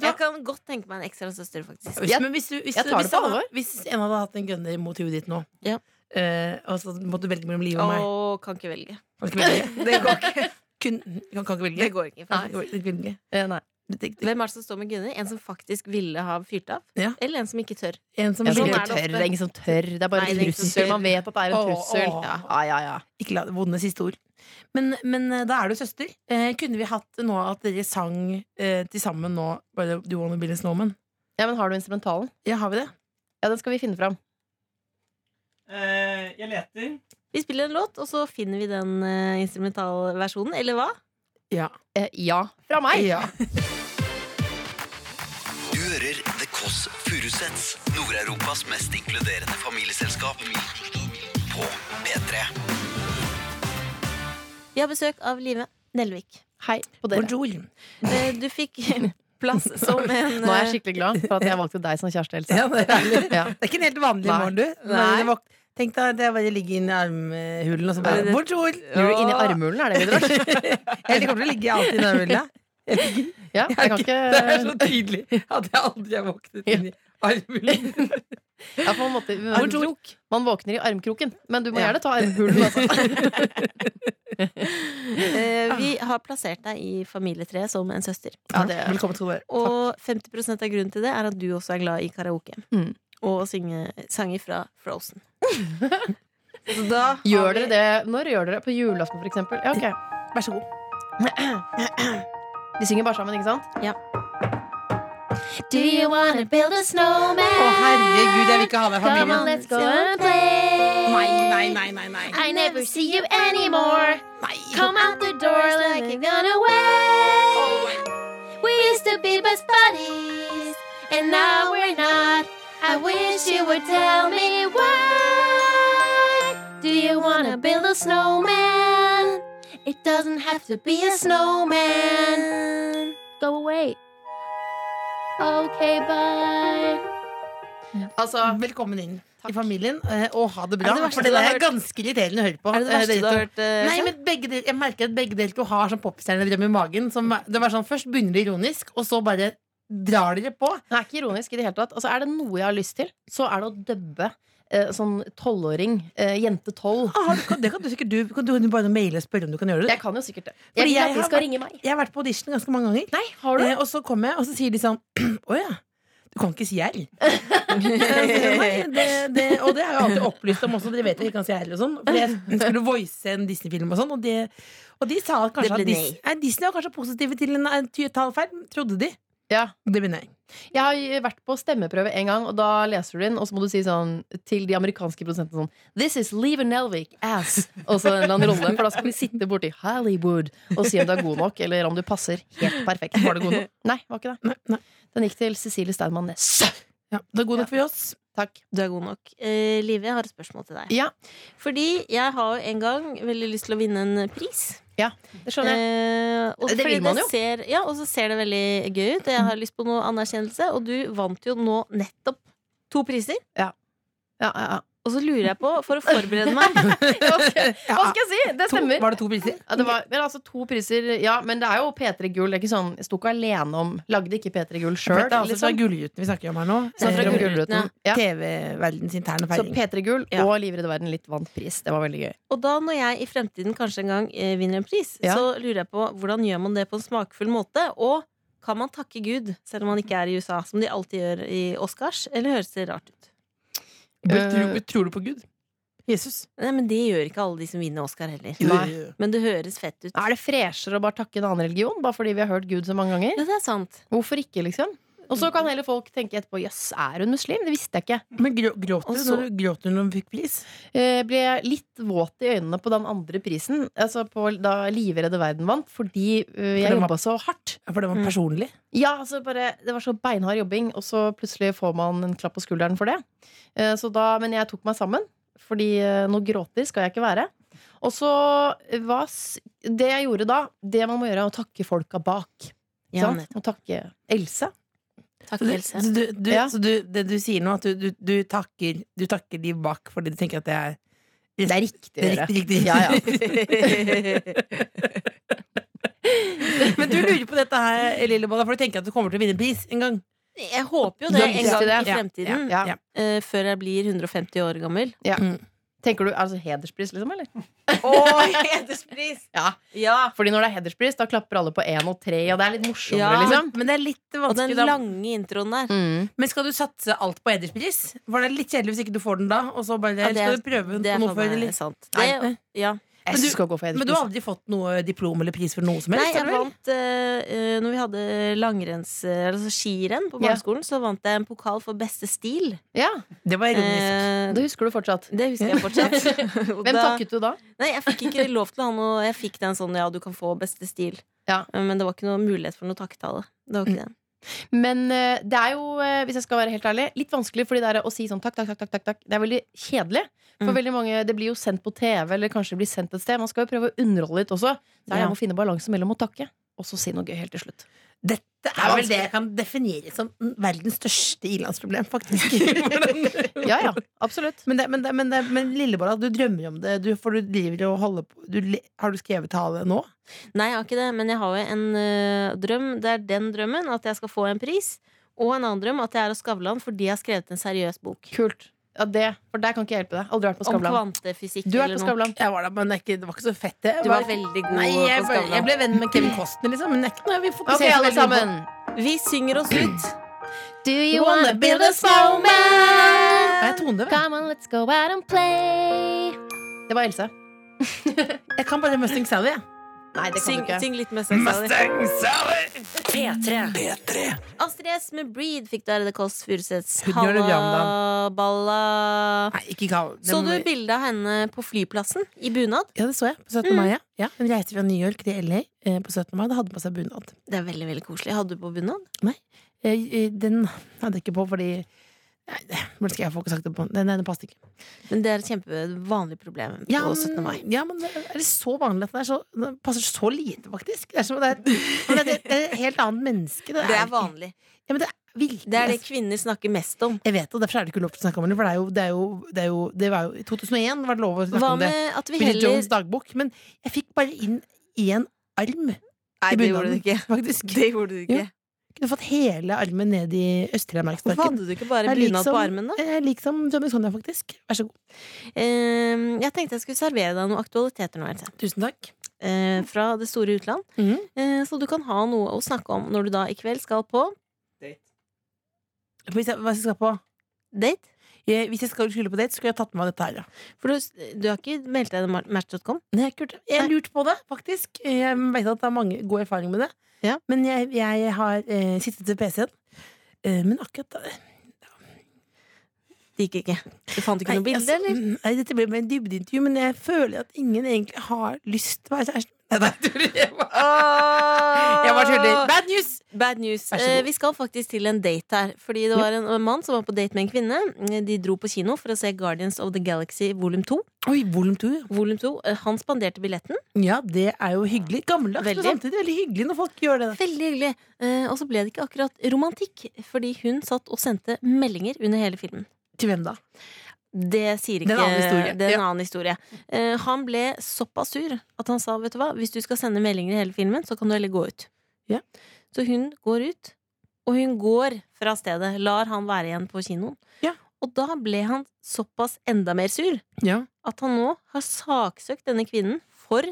Jeg kan godt tenke meg en ekstra søster, faktisk. Hvis, Jeg- men hvis, du, hvis, jeg tar det hvis på han- alvor. Hvis en hadde hatt en gunner mot huet ditt nå, Ja. eh, og så måtte du velge mellom livet og meg Å, kan ikke velge. Kan ikke velge. Det går ikke. Kun, kan, kan ikke velge. Det går ikke. Kan faktisk. ikke velge. Kan ikke velge. Eh, nei. Det- det- det- Hvem er det som står med Gunnhild? En som faktisk ville ha fyrt av? Ja. Eller en som ikke tør? En som Jeg sånn tror velger- er ikke det tør. ofte. Det er ingen som tør. Det er bare Nei, det er en ingen som trussel. tør. Man vet at det er en Å, trussel. å. Ja, ja, ja. Ikke la det vonde siste ord. Men, men eh, da er du søster. Eh, kunne vi hatt nå at dere sang eh, til sammen nå bare Do you wanna be a snowman? ja, men har du instrumentalen? Ja, har vi det? Ja, den skal vi finne fram. Eh, jeg leter. Vi spiller en låt, og så finner vi den eh, instrumentalversjonen, eller hva? Ja. Eh, ja. Fra meg! ja. Du hører The Kåss Furuseths, Nord-Europas mest inkluderende familieselskap. På P3. Vi har besøk av Live Nelvik. Hei på dere. Bonjour. Eh, Du fikk plass som en Nå er jeg skikkelig glad for at jeg valgte deg som kjæreste, Else. Ja, det er herlig. Ja. Det er ikke en helt vanlig Nei. morgen, du. Nei. Nei. Tenk deg at jeg bare ligger inn i armhulen og så bare Nei, det- Bonjour! Blir du inni armhulen, er det vi drar? Jeg kommer til å ligge alltid i armhulen. Ja, jeg kan Det ikke er sånn- så tydelig at jeg aldri har våknet inn i armhulen. ja, på en måte, armkrok. Man våkner i armkroken, men du må gjerne ta armhulen. Altså. Eh, Vi har plassert deg i familietreet som en søster. Ja, det, Velkommen til dere. Og 50 av grunnen til det er at du også er glad i karaoke. Mm. Og å synge sanger fra Frozen. Så da har gjør vi- dere det Når gjør dere det? På julaften, for eksempel? Ja, ok. Vær så god. De synger bare sammen, ikke sant? Do you wanna build a Å, snowman? herregud, jeg vil ikke ha deg i Come on, familien. let's go and play. Nei, nei, nei, nei, nei. I never see you anymore. Nei. Come out the door like you're gonna wait. We used to be best buddies, and now we're not. I wish you would tell me why. Do you wanna build a snowman? It doesn't doesn't have to be a snowman. Go away. Okay, bye. Altså, Velkommen inn i familien, eh, og ha det bra. Er det det verste for det du har er hørt? ganske irriterende å høre på. Er det det verste Eh, du har hørt? eh, Nei, Sam? men begge del, Jeg merker at begge deler to har sånn popstjernedrøm i magen. Som, det var sånn, Først begynner det ironisk, og så bare drar dere på. Det er ikke ironisk i det hele tatt. Altså, er det noe jeg har lyst til, så er det å dubbe eh, sånn tolvåring, eh, jente tolv. Ah, du kan, det kan du sikkert du, kan du bare maile og spørre om du kan gjøre det. Jeg kan jo sikkert det. Jeg Fordi vil jeg at de har skal vært- ringe meg. Jeg har vært på audition ganske mange ganger. Nei, har du? Eh, og så kommer jeg, og så sier de sånn Å ja, du kan ikke si R. Eh, så, Nei, det, det, og det er jo alltid opplyst om også, dere vet jo ikke kan si R og sånn. For jeg skulle voice en Disney-film og sånn, og, det- og de sa at Det kanskje ble at Dis, nei, Disney var kanskje positive til en en ty- tallfeil, trodde de. Ja. Det blir nei. Jeg har vært på stemmeprøve en gang, og da leser du inn, og så må du si sånn til de amerikanske produsentene sånn This is Lever Nelvik as Og så en eller annen rolle, for da skal vi sitte borti Hollywood og si om du er god nok, eller om du passer helt perfekt. Var du god nok? Nei, var ikke det. nei, nei. Den gikk til Cecilie Steinmann Næss. Ja, det er god nok for oss. Takk. Du er god nok. Eh, Live, jeg har et spørsmål til deg. Ja. Fordi jeg har jo en gang veldig lyst til å vinne en pris. Det skjønner jeg. Eh, og Det fordi vil man det jo. Ser, ja, og så ser det veldig gøy ut. og Jeg har lyst på noe anerkjennelse, og du vant jo nå nettopp to priser. Ja, ja, ja. Og så lurer jeg på, for å forberede meg Hva skal, hva skal jeg si? Det To, stemmer. var det to priser? Ja, det var, men altså to priser Ja, men det er jo P3 Gull. Det er ikke sånn, jeg sto ikke alene om Lagde ikke P3 Gull For sjøl. det er altså fra Gullruten vi snakker om her nå. liksom. Så fra Eh, om Gullruten. Ja. TV-verdens interne Så feiring. P3 Gull Ja. og Livredd verden litt vant pris. Det var veldig gøy. Og da når jeg i fremtiden kanskje en gang eh, vinner en pris, Ja. så lurer jeg på hvordan gjør man det på en smakfull måte? Og kan man takke Gud, selv om man ikke er i USA, som de alltid gjør i Oscars? Eller høres det rart ut? Tror- tror, tror du på Gud? Eh, Jesus? Nei, men det gjør ikke alle de som vinner Oscar heller. Nei. Men det høres fett ut. Er det freshere å bare takke en annen religion bare fordi vi har hørt Gud så mange ganger? Ja, det er sant. Hvorfor ikke, liksom? Og så kan heller folk tenke etterpå jøss, er hun muslim? Det visste jeg ikke. Men grå, gråt, Og du så- når du, gråt du når du fikk pris? Eh, ble litt våt i øynene på den andre prisen, altså på da Livredde verden vant, fordi eh, jeg den var- jobba så hardt. Ja, For det var personlig? Ja, altså bare, Det var så beinhard jobbing, og så plutselig får man en klapp på skulderen for det. Eh, Så da, men jeg tok meg sammen, fordi eh, noe gråter skal jeg ikke være. Og så var s- Det jeg gjorde da, det man må gjøre, er å takke folka bak. Ja, sant? Å takke Else. Takk, Så, du, Else. så, du, du, Ja. så du, det du sier nå, at du, du, du, takker, du takker de bak fordi du tenker at det er Det er riktig å det er gjøre. riktig, riktig. Ja, ja. Men du lurer på dette her, Lillebolla, for du tenker at du kommer til å vinne pris en gang. Jeg håper jo Du det har en lyst gang til i det. fremtiden. Ja. eh, før jeg blir 150 år gammel. Tenker du altså hederspris, liksom? eller? Oh, hederspris! Ja. Ja. Fordi når det er hederspris, da klapper alle på én og tre, og det er litt morsommere, Ja. liksom. Men det er litt Og den vanskelig. da. lange introen der. Mm. Men skal du satse alt på hederspris? For det er litt kjedelig hvis ikke du får den da. Og så bare, Ja, det er- skal du prøve Det på er noe for før, meg eller? sant. Nei. Det, ja. Jeg Men du- synes du skal gå for Men du har hederspris. aldri fått noe diplom eller pris for noe som Nei, helst? jeg har du vel? vant eh, eh, Når vi hadde langrenns, eh, altså skirenn på Ja. barneskolen, så vant jeg en pokal for beste stil. Ja, Det var ironisk. Eh, Det husker du fortsatt. det husker jeg fortsatt. Og Hvem da- takket du da? Nei, jeg fikk ikke lov til å ha noe Jeg fikk den sånn, ja, du kan få beste stil. Ja. Mm. Eh, Men det var ikke noe mulighet for noe takketale. Det var ikke det. Men eh, det er jo, eh, hvis jeg skal være helt ærlig, litt vanskelig fordi det er å si sånn takk, takk, takk, takk, takk, takk. Det er veldig kjedelig. For Mm. veldig mange, Det blir jo sendt på TV, eller kanskje det blir sendt et sted. Man skal jo prøve å underholde litt også. Så er det Ja. om å finne balansen mellom å takke og så si noe gøy helt til slutt. Dette er vel det jeg kan definere som verdens største ilandsproblem, faktisk. Hvordan- Ja, ja, absolutt. men, det, men, det, men, det, men Lillebolla, du drømmer om det, du, for du driver og holder på du, le- Har du skrevet tale nå? Nei, jeg har ikke det, men jeg har jo en eh, drøm. Det er den drømmen at jeg skal få en pris. Og en annen drøm at jeg er hos Skavlan fordi jeg har skrevet en seriøs bok. Kult. Ja, det, For der kan ikke jeg hjelpe deg. Aldri vært Om på Skavlan. kvantefysikk Du er eller på noe. Skavlan. Jeg var der, men det, er ikke, det var ikke så fett, det. Jeg Du var- var veldig god Nei, jeg, på ble- jeg Skavlan. ble venn med Kevin Costner, liksom. Men det er ikke noe vi fokuserer Ok, så alle veldig på. sammen. Vi synger oss ut. Do you Wanna wanna build a Er snowman? jeg tondøv? jeg? Come on, let's go out and play. Det var Else. Jeg kan bare Mustang Sally, jeg. Nei, det kan Syng, du ikke. syng litt med seg selv. P3. P3 Astrid S med Breed fikk du her i The Kåss Furuseths. Hun gjør det bra om Halla, balla. Nei, ikke Gal. Så du Den- bildet av henne på flyplassen i bunad? Ja, det så jeg. På 17. mai, ja. ja. Hun reiste fra New York til LA eh, på 17. mai. Da hadde hun på seg bunad. Det er veldig veldig koselig. Hadde du på bunad? Eh, eh, Den hadde jeg ikke på fordi Nei, det hvordan skal jeg få ikke sagt det på Nei, nei, det passet ikke. Men det er et kjempevanlig problem på Ja, 17. mai. men, ja, men det er det så vanlig at det, er så, det passer så lite, faktisk? Det er som om det er, men det er, det er et helt annet menneske. Det, Det er ikke- vanlig. Ja, men det er virkelig Det er det kvinner snakker mest om. Jeg vet det, og derfor er det ikke lov til å snakke om det. For det er jo, det er jo, det er jo, det var jo I 2001 var det lov å snakke Hva om det. med at vi Billy Jones heller dagbok. Men jeg fikk bare inn én arm, Nei, i det bunaden. gjorde du ikke. faktisk. Det gjorde du ikke. Jo, Kunne fått hele armen ned i Hvorfor Øst-Telemarksparken. hadde du ikke bare Jeg er bunad liksom- på armen, da? Jeg er lik som Johnny Sonja, faktisk. Vær så god. Eh, jeg tenkte jeg skulle servere deg noen aktualiteter nå, Else. Tusen takk. Eh, fra det store utland. Mhm. Eh, så du kan ha noe å snakke om når du da i kveld skal på Date. Hvis jeg, hva skal jeg på? date. Jeg, hvis jeg skal skulle på date, skulle jeg tatt med meg dette her, ja. For du, du har ikke meldt deg til match.com? Nei, kult. Jeg Nei. lurte på det, faktisk. Jeg vet at det er mange god erfaring med det. Ja. Men jeg, jeg har eh, sittet ved PC-en. Eh, men akkurat da Det gikk ikke. Du fant ikke noe Nei, bilde, altså, eller? mm, Nei, dette blir bare en dybdeintervju, men jeg føler at ingen egentlig har lyst til å være kjæresten. Nei, nei, tuller. Jeg bare- jeg bare tuller. Bad news! Bad news. Vær så god. Eh, vi skal faktisk til en date her. Fordi det var en en mann som var på date med en kvinne. De dro på kino for å se Guardians of the Galaxy volum 2. Oi, volum to. Volum 2. eh, Han spanderte billetten. Ja, det er jo hyggelig. Gammeldags, men Veldig. samtidig veldig hyggelig når folk gjør det. da. Veldig hyggelig. Eh, Og så ble det ikke akkurat romantikk, fordi hun satt og sendte meldinger under hele filmen. Til hvem da? Det sier ikke Det er en annen historie. det er en Ja. annen historie. Eh, han ble såpass sur at han sa vet du hva, hvis du skal sende meldinger i hele filmen, så kan du heller gå ut. Ja. Så hun går ut, og hun går fra stedet. Lar han være igjen på kinoen. Ja. Og da ble han såpass enda mer sur Ja. at han nå har saksøkt denne kvinnen for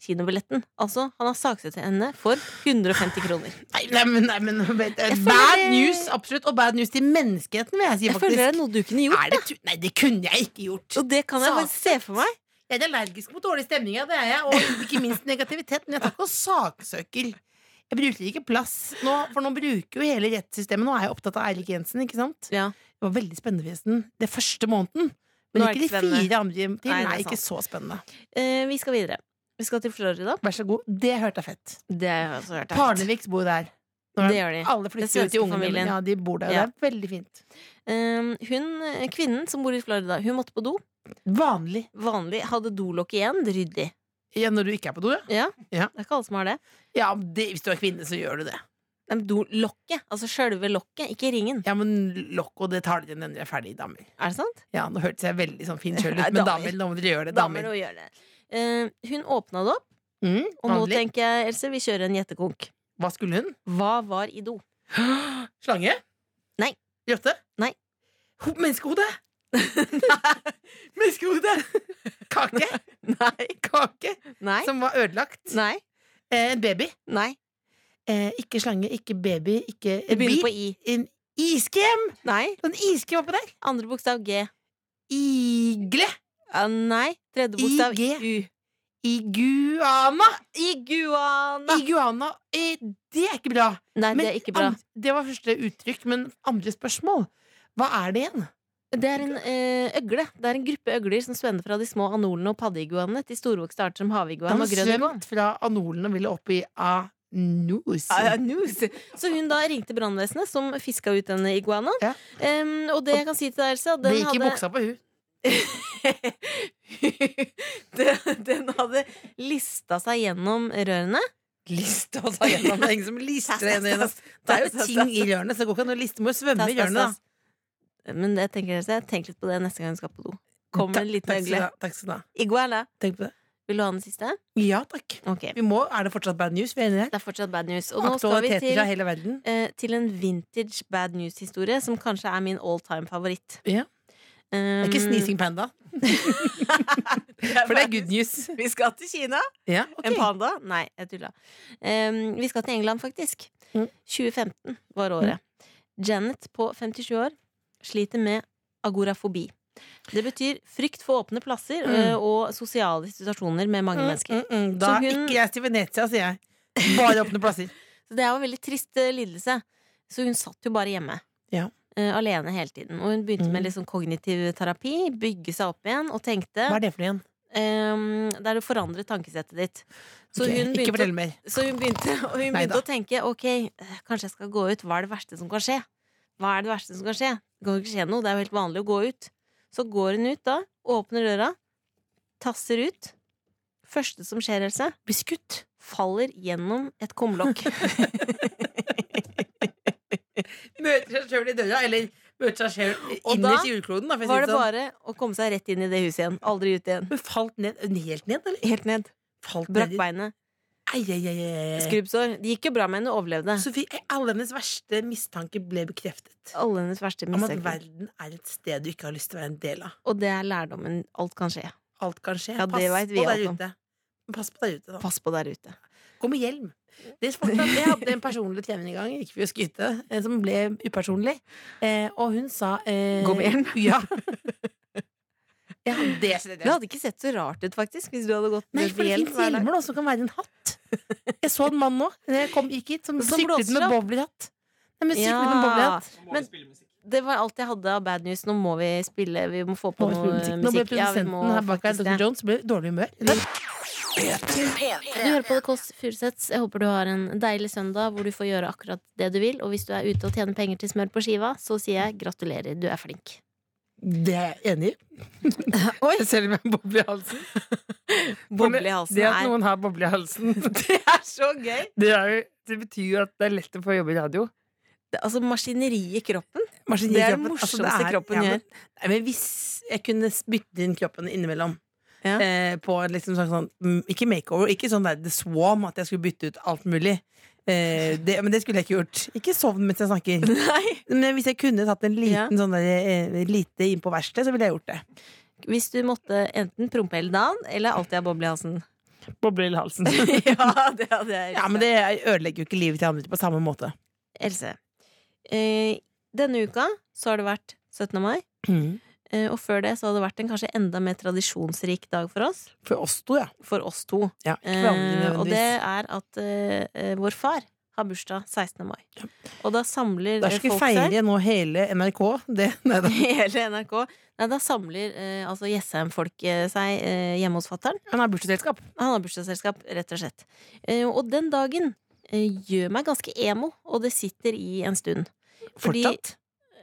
kinobilletten. Altså, han har saksøkt henne for 150 kroner. Nei, nei, men, nei, men vet, du, Jeg føler Bad det- news, absolutt. Og bad news til menneskeheten, vil jeg si, Jeg faktisk. føler det er noe du kunne gjort. Er det tu- nei, det kunne jeg ikke gjort. Og det kan jeg bare se for meg. Jeg er allergisk mot dårlig stemning, ja, det er jeg. Og ikke minst negativitet. Men jeg tar ikke og saksøker. Jeg bruker ikke plass. Nå, for nå bruker jo hele rettssystemet Nå er jeg opptatt av Eirik Jensen, ikke sant? Ja. Det var veldig spennende, forresten. Det første Nå måneden. Men er det ikke ikke de spennende. fire andre til. Nei, Nei, det er ikke så spennende. Eh, vi skal videre. Vi skal til Florida. Vær så god. Det hørte jeg fett. Det har jeg også hørt. Parneviks bor der. Nå er Det gjør de. Alle flytter jo svenske til ungene. familien. men Ja, de bor der. og Ja. Det er veldig fint. Um, hun, kvinnen som bor i Florida, hun måtte på do. Vanlig. Vanlig hadde dolokk igjen. Ryddig. Ja, når du ikke er på do, ja. Ja, Ja. Det er ikke alle som har det. ja det, hvis du er kvinne, så gjør du det. Nei, men Dolokket, altså sjølve lokket, ikke ringen. Ja, men lokk og det tar dere når dere er ferdig, damer. Er det sant? Ja, nå hørtes jeg veldig sånn fin kjøl ut, Nei, men damer. damer, nå må dere gjøre det. Damer Damer. og gjør det. Eh, hun åpna det opp, Mm, og nå vanlig. tenker jeg Else, vi kjører en gjettekonk. Hva skulle hun? Hva var i do? Slange? Nei. Rotte? Nei. Ho menneskehode? menneskehode! Kake? Nei. Kake Nei. som var ødelagt. Nei. Eh, en baby. Nei. Eh, ikke slange, ikke baby, ikke Det en begynner bil. på I. En iskrem! Nei. En iskrem oppå der. Andre bokstav G. Igle! Ja, nei. Tredje bokstav IG. U. Iguana! Iguana! Iguana, eh, det er ikke bra. Nei, det er ikke bra. an- det var første uttrykk, men andre spørsmål. Hva er det igjen? Det er en eh, øgle. Det er en gruppe øgler som spenner fra de små anolene og paddeiguanene til storvokste arter som haviguan Han og har grønn iguan. svømt fra anolen og ville opp i anus. Så hun da ringte brannvesenet, som fiska ut denne iguanaen. Ja. Em, og det jeg kan si til deg, Else at Det den gikk i buksa på hun. hadde Den hadde lista seg gjennom rørene. Lista seg gjennom. Det er ingen som lister henne gjennom. Det er jo ting i rørene, så det går ikke an å liste. Må jo svømme Tass, i tass, rørene, da. tass. Men jeg tenker Else, tenk litt på det neste gang hun skal på do. Kom med en liten Takk skal du øgle. ha. Takk skal du ha. Iguana. Tenk på det. Vil du ha den siste? Ja takk. Ok. Vi må, er det fortsatt bad news? Vi er enige der. Det er fortsatt bad news. Og nå skal vi Aktualiteter til fra hele verden. eh, til en vintage bad news-historie som kanskje er min all time favoritt. Ja. Det Um, er ikke Sneezing Panda, for det er good news. Vi skal til Kina. Ja, En ok. panda? Nei, jeg tulla. Um, vi skal til England, faktisk. Mm. 2015 var året. Janet på 57 år sliter med agorafobi. Det betyr frykt for åpne plasser Mm. eh, og sosiale situasjoner med mange mennesker. Mm, mm, mm. Da Så hun- ikke jeg til Venezia, sier jeg. Bare åpne plasser. Så det er jo en veldig trist eh, lidelse. Så hun satt jo bare hjemme. Ja. Eh, alene hele tiden. Og hun begynte Mm. med litt sånn kognitiv terapi, bygge seg opp igjen, og tenkte Hva er det for noe igjen? ehm, Der du forandret tankesettet ditt. Så, Ok, hun, ikke begynte, fortell mer. så hun begynte, og hun Mm. Neida. øh, begynte å tenke ok, eh, kanskje jeg skal gå ut. Hva er det verste som kan skje? Hva er det verste som kan skje? Det kan jo ikke skje noe, det er jo helt vanlig å gå ut. Så går hun ut da, åpner døra, tasser ut. Første som skjer, Else, blir skutt. Faller gjennom et kumlokk. Møter seg sjøl i døra, eller møter seg sjøl Og innerst da i jordkloden. Da, for å si Var det sånn. bare å komme seg rett inn i det huset igjen. Aldri ut igjen. Hun falt ned, helt ned, eller? Helt ned. Falt Brakk ned i- beinet. Ai, ai, ai, ai. Skrubbsår. Det gikk jo bra med henne, overlevde. Sofie, alle hennes verste mistanke ble bekreftet. Alle hennes verste Om at mistenker. verden er et sted du ikke har lyst til å være en del av. Og det er lærdommen. Alt kan skje. Alt kan skje. Ja, det Pass vet vi på der alt om. ute. Pass på der ute, da. Pass på der ute. Gå med hjelm. Det er fortsatt, jeg hadde en personlig trening en gang, gikk vi å skryte, eh, som ble upersonlig. Eh, og hun sa eh, Gå med hjelm? Ja. ja det skjedde. Du hadde ikke sett så rart ut, faktisk, hvis du hadde gått Nei, med for det hjelm finnes hver dag. hjelmer da, som kan være en hatt. Jeg så en mann nå, jeg kom, gikk hit, som Som syklet med blåser opp. bowlerhatt. Nei, men syklet med Ja. bowlerhatt. Nå må Men- vi spille musikk. Det var alt jeg hadde av bad news. Nå må vi spille. Vi må få på Nå ble noe musikk. Nå ble Ja, vi produsenten må her bak her, faktisk Dr. det. Jones, ble i dårlig humør. Eller? Du hører på The Kåss Furuseths. Jeg håper du har en deilig søndag hvor du får gjøre akkurat det du vil. Og hvis du er ute og tjener penger til smør på skiva, så sier jeg gratulerer, du er flink. Det er jeg enig i. Selv om jeg har boble i halsen. Boble i halsen Det at er- noen har boble i halsen, Det er så gøy! det, er jo, det betyr jo at det er lett å få jobbe i radio. Altså, maskineriet i kroppen. Maskineriet Det er i den kroppen. Altså, morsomste kroppen men- gjør. Nei, men hvis jeg kunne bytte inn kroppen innimellom Ja. eh, På en liksom sånn, sånn mm, Ikke makeover, ikke sånn der The Swarm At jeg skulle bytte ut alt mulig eh, det, Men det skulle jeg ikke gjort Ikke sovn mens jeg snakker Men hvis jeg kunne tatt en liten Ja. sånn der eh, Lite inn på verste, så ville jeg gjort det Hvis du måtte enten prompe hele dagen, eller alltid ha boble i halsen. Boble i halsen. ja, det hadde jeg. Ja, men det ødelegger jo ikke livet til andre på samme måte Else. Eh, denne uka så har det vært 17. mai. Eh, Og før det så har det vært en kanskje enda mer tradisjonsrik dag for oss. For oss to, ja, For oss to. ja ikke for andre Eh, og nødvendigvis. det er at eh, eh, vår far har bursdag 16. mai. Og da samler Da eh, skal vi folk seg. feire nå hele NRK det, nei, da. Hele NRK. Nei, da samler eh, altså Jessheim-folk eh, seg eh, hjemme hos fatter'n. Han har bursdagsselskap Han har bursdagsselskap, rett og slett. Eh, og den dagen eh, gjør meg ganske emo, og det sitter i en stund. Fordi- Fortsatt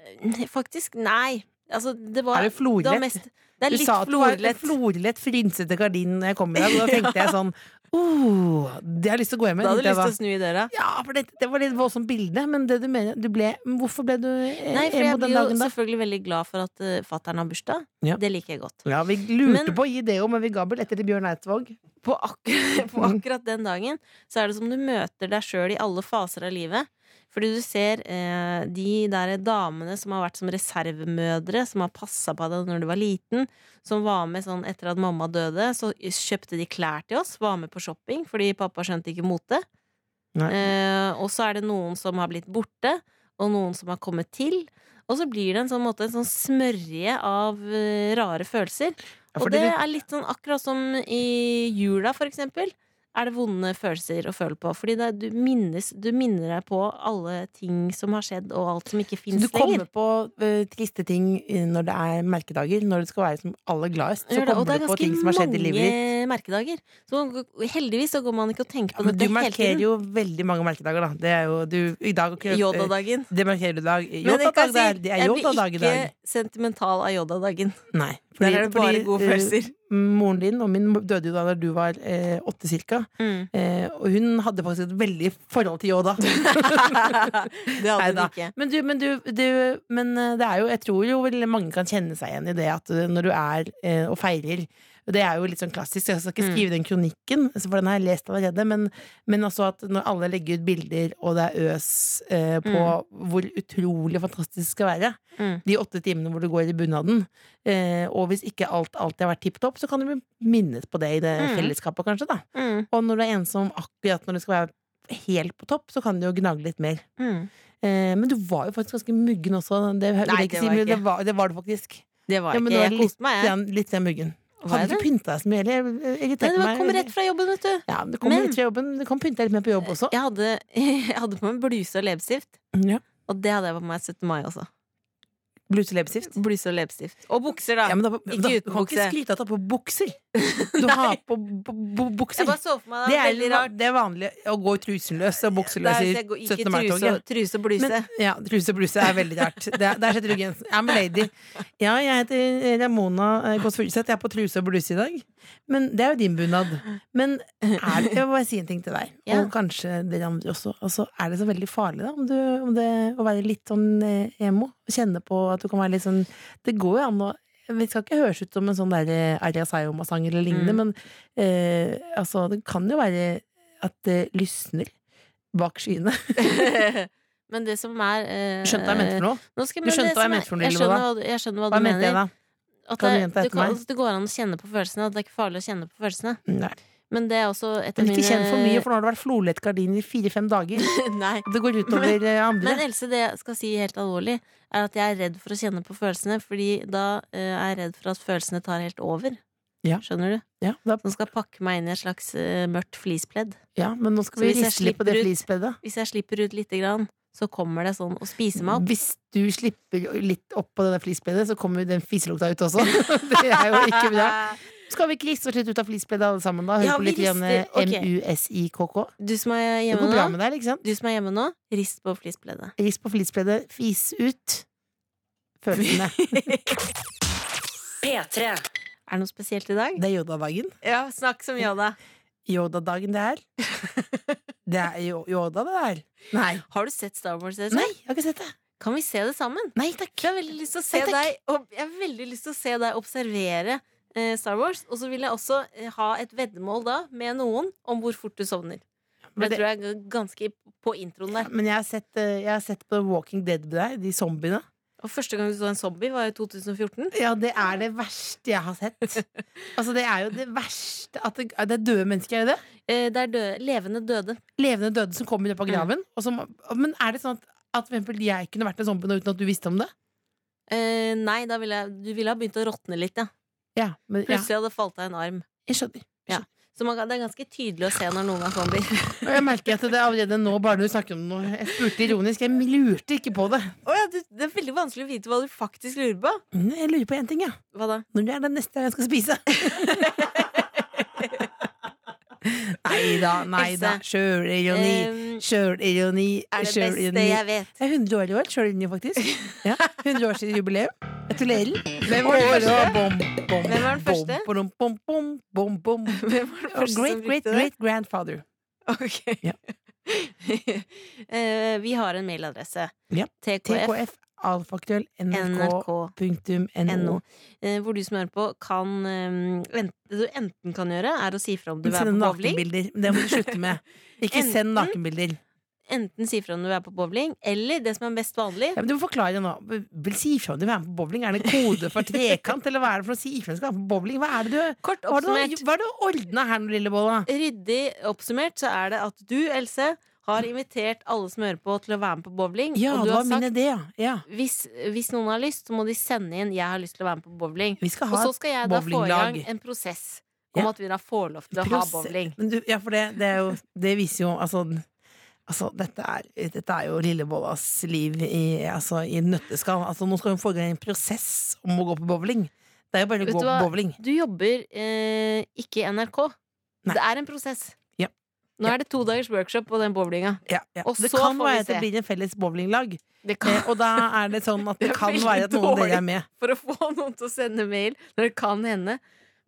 Eh, Faktisk, nei. Altså, det var Er det det, var florlett? mest, det er Du litt sa at du var florlett. florlett frynsete gardin når jeg kom i dag, og da tenkte jeg sånn oh, Det har jeg lyst til å gå Da hjem med. hadde du tenkte jeg lyst til å snu i døra. da. Ja, for det, det var litt voldsomt bilde, men det du mener du ble, hvorfor ble du eh, Nei, for emo jeg den blir jo dagen, da? selvfølgelig veldig glad for at uh, fattern har bursdag. Ja. Det liker jeg godt. Ja, vi lurte Men- på å gi det òg, men vi ga billetter til Bjørn Eidsvåg. På, akkurat, på akkurat den dagen så er det som du møter deg sjøl i alle faser av livet. Fordi du ser eh, de der damene som har vært som reservemødre, som har passa på deg når du var liten, som var med sånn etter at mamma døde, så kjøpte de klær til oss, var med på shopping fordi pappa skjønte ikke mote. Nei. Eh, og så er det noen som har blitt borte, og noen som har kommet til. Og så blir det en sånn, måte, en sånn smørje av eh, rare følelser. Ja, og fordi det det- er litt sånn akkurat som i jula, for eksempel. Er det vonde følelser å føle på? Fordi det, er- du, minnes, du minner deg på alle ting som har skjedd, og alt som ikke Så fins du kommer lenger. på eh, triste ting eh, når det er merkedager, når det skal være som aller gladest. Så Gjør det, og det kommer er du på ganske ting som har skjedd i livet ditt. mange merkedager. Så heldigvis så går man ikke og tenker Ja, på men du dette hele markerer tiden. jo veldig mange merkedager, da. Det er jo du I dag eh, Yoda-dagen. Det markerer du i dag. Men det kan Yoda-dag, det jeg er, si, det er jeg Yoda-dag i blir dag. ikke sentimental av Yoda-dagen. Nei. Der er det bare gode eh, følelser. moren din og min døde jo da da du var eh, åtte cirka. Mm. Eh, og hun hadde faktisk et veldig forhold til Yoda. det hadde Neida. den ikke. Men, du, men, du, du, men eh, det er jo, jeg tror jo veldig mange kan kjenne seg igjen i det at eh, når du er eh, og feirer og Det er jo litt sånn klassisk. Jeg skal ikke Mm. skrive den kronikken, altså, for den har jeg lest allerede. Men, men også at når alle legger ut bilder, og det er øs eh, på hvor utrolig fantastisk det skal være Mm. de åtte timene hvor du går i bunaden, eh, og hvis ikke alt alltid har vært tipp topp, så kan du bli minnet på det i det Mm. fellesskapet, kanskje. da Mm. Og når du er ensom akkurat når det skal være helt på topp, så kan du jo gnage litt mer. Mm. Eh, men du var jo faktisk ganske muggen også. Det, vil Nei, jeg det ikke si, var men jeg det, var, det var du faktisk. Det var Ja, men ikke. det var Jeg litt- koste meg, jeg. Litt, litt sånn muggen. Var Hadde jeg ikke det? pynta deg så mye heller. Jeg Nei, irriterte det var- meg. kom rett fra jobben, vet du. Ja, det kom Men- rett fra jobben. Det kom pynta litt mer på jobb også. Jeg hadde, jeg hadde på meg bluse og leppestift, Ja. og det hadde jeg på meg 17. mai også. Bluse og leppestift. Bluse og leppestift. Og bukser, da. Ja, men da, da, Ikke du uten kan ikke bukse. skryte av at du har på bukser. Du har på bu- bu- bukser. Jeg bare så for meg det. Det var er, veldig rart. det er vanlig å gå i truseløs og bukseløs i Det er- det går- ikke 17. mai-toget. truse- truse og bluse. Men- Ja, truse og bluse er veldig rart. Det er, der setter du grensen. I'm a lady. Ja, jeg heter Ramona Kåss Furuseth. Jeg er på truse og bluse i dag. Men det er jo din bunad. Men er det, jeg må bare si en ting til deg, Ja. og kanskje dere andre også. Altså, er det så veldig farlig, da, om du, om det, å være litt sånn eh, emo? Kjenne på at du kan være litt sånn Det går jo an å vi skal ikke høres ut som en sånn der eh, Arja Sayoma-sang eller lignende, men eh, altså, det kan jo være at det lysner bak skyene. Men det som er eh, Skjønte hva jeg mente for noe? nå skal- Du men skjønte det hva jeg som er- mente for noe, Jeg Lille Bolla? skjønner hva, du- jeg skjønner hva Hva du mente jeg mener. da? At Kan du det, du gjenta etter kan, meg? altså, det går an å kjenne på følelsene. At det er ikke farlig å kjenne på følelsene. Nei. Men det er også et av Men mine ikke kjenn for mye, for nå har det vært flolett gardin i fire-fem dager. Nei. Det går utover eh, andre. Men Else, det jeg skal si helt alvorlig, er at jeg er redd for å kjenne på følelsene, fordi da eh, er jeg redd for at følelsene tar helt over. Ja. Skjønner du? Ja, da, Som skal pakke meg inn i et slags eh, mørkt fleecepledd. ja, men nå Så skal vi hvis jeg riste litt på det slipper ut- flisbeddet. Hvis jeg slipper ut lite grann, så kommer det sånn og spiser meg opp. Hvis du slipper litt opp på det flisbeddet, så kommer den fiselukta ut også. Det er jo ikke bra. Skal vi ikke riste oss litt ut av flisbeddet alle sammen, da? Hør Ja, på vi litt grann, eh, rister. Ok. MUSIKK. Du som er Det går hjemme bra nå, med deg, ikke sant? du som er hjemme nå rist på fleecebleddet. Rist på flisbredet, fis ut følelsene. P3. Er det noe spesielt i dag? Det er Yoda-dagen. Ja, snakk som Yoda. Yoda-dagen det er. Det er Yo- Yoda, det der. Nei. Har du sett Star Wars? Else? Nei, jeg har ikke sett det. Kan vi se det sammen? Nei takk. Jeg har veldig lyst til å se Nei, takk. deg og Jeg har veldig lyst til å se deg observere eh, Star Wars. Og så vil jeg også eh, ha et veddemål da med noen om hvor fort du sovner. For Men det det- tror jeg er g- ganske på introen der. Men jeg har sett, eh, jeg har sett på Walking Dead med deg, de zombiene. Og første gang du så en zombie, var i 2014. Ja, det er det verste jeg har sett. Altså, det er jo det verste at det, det er døde mennesker, er det det? Eh, det er døde, levende døde. Levende døde som kommer opp av graven. Og som, men er det sånn at, at for eksempel, jeg kunne vært en zombie nå uten at du visste om det? Eh, nei, da ville jeg, du ville ha begynt å råtne litt, ja. Ja, men, ja. Plutselig hadde falt av en arm. Jeg skjønner. Så man, kan- det er ganske tydelig å se når noen er zombier. Og jeg merker at det er allerede nå, bare du snakker om det nå Jeg spurte ironisk, jeg lurte ikke på det. Å ja, du, det er veldig vanskelig å vite hva du faktisk lurer på. Men Mm, Jeg lurer på én ting, ja. Hva da? Når det er den neste jeg skal spise. nei da, nei da. Sjølironi. Eh, Sjølironi. er det beste sjølironi. jeg vet. Det er 100 år i år, sjølironi, faktisk. Ja, 100 års jubileum. Gratulerer. Hvem var den første? Hvem Hvem var den første? Bom, bom, bom, bom, bom. Hvem var det første som Great, great, brukte det? great grandfather. Ok. Ja. Eh, vi har en mailadresse. Ja. TKF. TKF, alfaktuell, nrk.no. NRK. Eh, hvor du som hører på, kan eh, enten, Det du enten kan gjøre, er å si fra om du er Send på bowling. nakenbilder. Det må du slutte med. Ikke Enten- send nakenbilder. Enten si fra om du er på bowling, eller det som er mest vanlig Ja, men du må forklare nå. Vil si ifra om du vil være med på bowling. Er det en kode for trekant, eller hva er det for å si ifra om du skal være med på bowling? Hva er det du Kort hva er det oppsummert, du- hva er det du ordna her nå, lille bolla? ryddig oppsummert, så er det at du, Else, har invitert alle som hører på, til å være med på bowling. Ja, og det du var har min sagt idé, ja. ja. hvis, hvis noen har lyst, så må de sende inn 'jeg har lyst til å være med på bowling'. Vi skal Og ha så skal jeg da få i bowlinglag. gang en prosess om Ja. at vi da får lov til å ha Prosess- bowling. Men du, ja, for det, det, er jo, det viser jo altså, altså dette, er, dette er jo Lillebollas liv i, altså, i en nøtteskall. Altså, nå skal hun få i gang en prosess om å gå på bowling. Det er jo bare Vet å gå du på hva? bowling. Du jobber eh, ikke i NRK. Nei. Det er en prosess. Ja. Nå er det to dagers workshop på den bowlinga. Ja, ja. Og Det så får kan vi være at det se. blir en felles bowlinglag, Det eh, kan, og da er det sånn at Det det er kan veldig være at noen av dårlig. dere er med. for å få noen til å sende mail når det kan hende.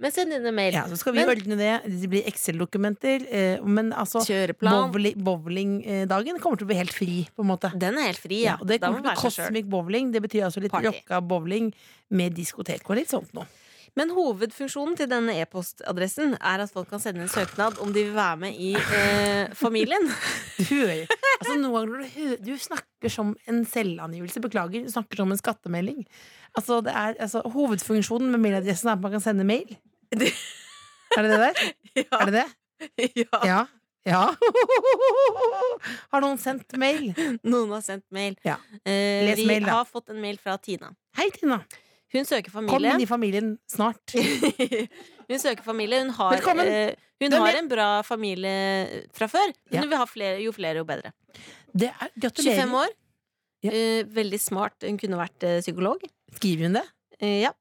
Men send inn en mail. Ja, så skal vi Men- ordne det. Det blir Excel-dokumenter. Eh, men altså, Kjøreplan. bowli- bowlingdagen kommer til å bli helt fri, på en måte. Den er helt fri, Ja, ja. og det Da må kommer man til å bli være seg selv. Cosmic Bowling. Det betyr altså litt Party. rocka bowling med diskotek og litt sånt noe. Men hovedfunksjonen til denne e-postadressen er at folk kan sende en søknad om de vil være med i eh, familien. Du hører Altså, noen ganger når du, hø- du snakker som en selvangivelse. Beklager, du snakker som en skattemelding. Altså, det er, altså, hovedfunksjonen med mailadressen er at man kan sende mail. Er det det der? Er det det? ja. Ja. Ja. Har noen sendt mail? Noen har sendt mail. Ja. Eh, Les vi mail, da. har fått en mail fra Tina. Hei, Tina. Hun søker Kom familie. inn i familien snart. hun søker familie. Hun har, Velkommen. eh, hun Hvem har er- en bra familie fra før, men Ja. hun vil ha flere, jo flere, jo bedre. Det er, gratulerer. 25 år. Ja. Eh, veldig smart. Hun kunne vært eh, psykolog. Skriver hun det? Eh, ja.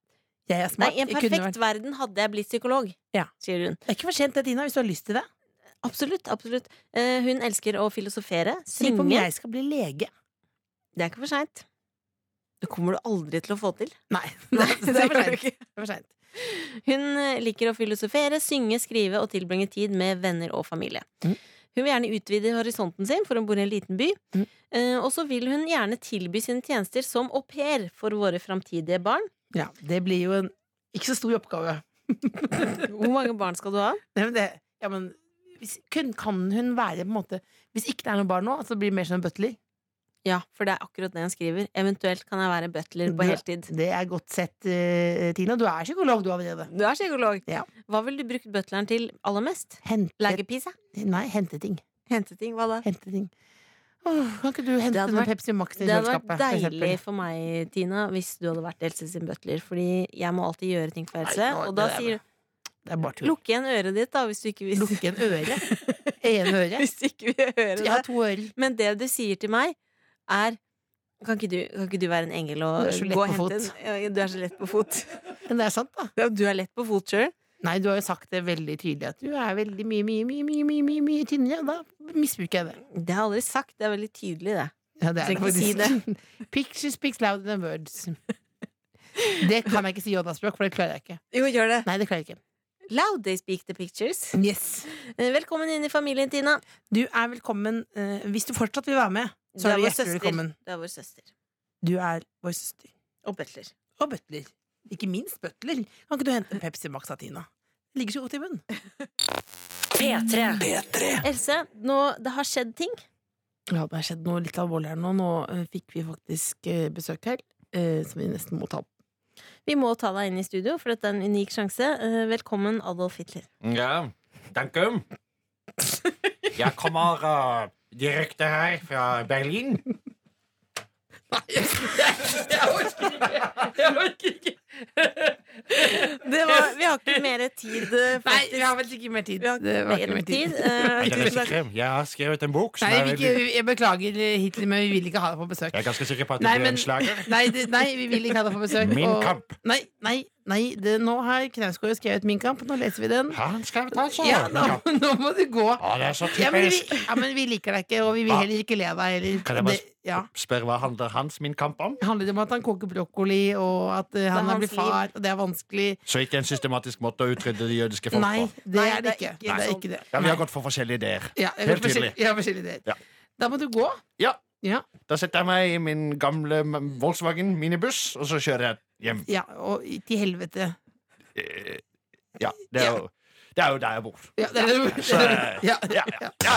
Jeg er Nei, smart. I en Jeg kunne perfekt verden hadde jeg blitt psykolog, Ja. sier hun. Det er ikke for sent, det, Tina, hvis du har lyst til det. Absolutt. absolutt Eh, Hun elsker å filosofere, Lurer på om synge. jeg skal bli lege. Det er ikke for seint. Det kommer du aldri til å få til. Nei, det er det er for gjør du sent. ikke. Det er for sent. Hun eh, liker å filosofere, synge, skrive og tilbringe tid med venner og familie. Mhm. Hun vil gjerne utvide horisonten sin, for hun bor i en liten by. Mhm. Eh, Og så vil hun gjerne tilby sine tjenester som au pair for våre framtidige barn. Ja, det blir jo en ikke så stor oppgave. Hvor mange barn skal du ha? Nei, men det, ja, men hvis, kun, kan hun være på en måte Hvis ikke det er noen barn nå, så blir det mer som en butler. Ja, for det er akkurat det hun skriver. Eventuelt kan jeg være butler på Du- heltid. Det er godt sett, eh, Tina. Du er psykolog, du allerede. Du er psykolog. Ja. Hva vil du bruke butleren til aller mest? Hente, Legepise? nei, hente ting. Hente ting? Hva da? Hente ting. Åh, kan ikke du hente hadde noen vært- Pepsi Max i Det hadde kjøleskapet? vært for deilig eksempel? for meg, Tina, hvis du hadde vært Else sin butler. Fordi jeg må alltid gjøre ting for Else. Nei, nå- Og da det er- sier du Det er bare tull. lukk igjen øret ditt, da, hvis du ikke vil, Lukke en øre. En øre. hvis du ikke vil høre Jeg har det. to ører. Men det du sier til meg, er kan ikke, du, kan ikke du være en engel og Du er så lett gå og på hente fot. en ja, Du er så lett på fot. Men det er sant, da. Ja, Du er lett på fot sjøl. Nei, du har jo sagt det veldig tydelig at du er veldig mye, mye, mye, mye, mye, mye, mye tynnere. Da misbruker jeg det. Det har jeg aldri sagt. Det er veldig tydelig, det. Ja, det er Trenger ikke det faktisk. Picture speaks louder than words. Det kan jeg ikke si i Odda-språk, for det klarer jeg ikke. Jo, gjør det. Nei, det klarer jeg ikke. Loud they speak the pictures. Yes. Eh, Velkommen inn i familien, Tina. Du er velkommen eh, hvis du fortsatt vil være med. Så Du er du vår hjertelig søster. velkommen. Du er vår søster. Du er vår søster. Og butler. Og butler. Ikke minst butler. Kan ikke du hente en Pepsi Max av Tina? Det ligger så godt i munnen. P3. P3 Else, nå, det har skjedd ting. Ja, det har skjedd noe litt alvorlig her nå. Nå eh, fikk vi faktisk eh, besøk her, eh, som vi nesten må ta opp. Vi må ta deg inn i studio, for dette er en unik sjanse. Eh, Velkommen, Adolf Hitler. Ja, danke. Jeg kommer eh, direkte her fra Berlin. Det var, vi har ikke mer tid, eh, Nei, faktisk. vi har vel ikke mer tid. Vi har Det ikke var ikke mer mer tid. tid. Eh, Er dere tusen takk. sikre? Jeg har skrevet en bok. som Nei, er vi veldig- ikke, jeg beklager, eh, Hitler, men vi vil ikke ha deg på besøk. Jeg er ganske sikker på at det Nei, blir men- en slager. Nei, det, nei, vi vil ikke ha deg på besøk. Min kamp. Nei, nei, nei det, nå har Knausgård skrevet Min kamp. Nå leser vi den. Har han skrevet altså? Ja, nå, nå må du gå. Å, det er så Ja men, vi, typisk. ja, men vi liker deg ikke, og vi vil Hva? heller ikke le av deg heller. Kan jeg bare Det- ja. Spør hva handler hans Min kamp om? Det handler om at han koker brokkoli, og at eh, han er har blitt hans liv. far, og det er vanskelig. Så ikke en systematisk måte å utrydde det jødiske folk Nei, på. det Nei, er det ikke. Det er ikke det. Ja, Vi har gått for forskjellige ideer. Ja, jeg Helt har forskjell- tydelig. jeg har forskjellige ideer. Ja. Da må du gå. Ja. Ja. Da setter jeg meg i min gamle Volkswagen minibuss, og så kjører jeg hjem. Ja, og i- til helvete. Eh, Ja, det er jo, det er jo der jeg bor. Ja, det er det. Så, eh, Ja. ja, ja, ja.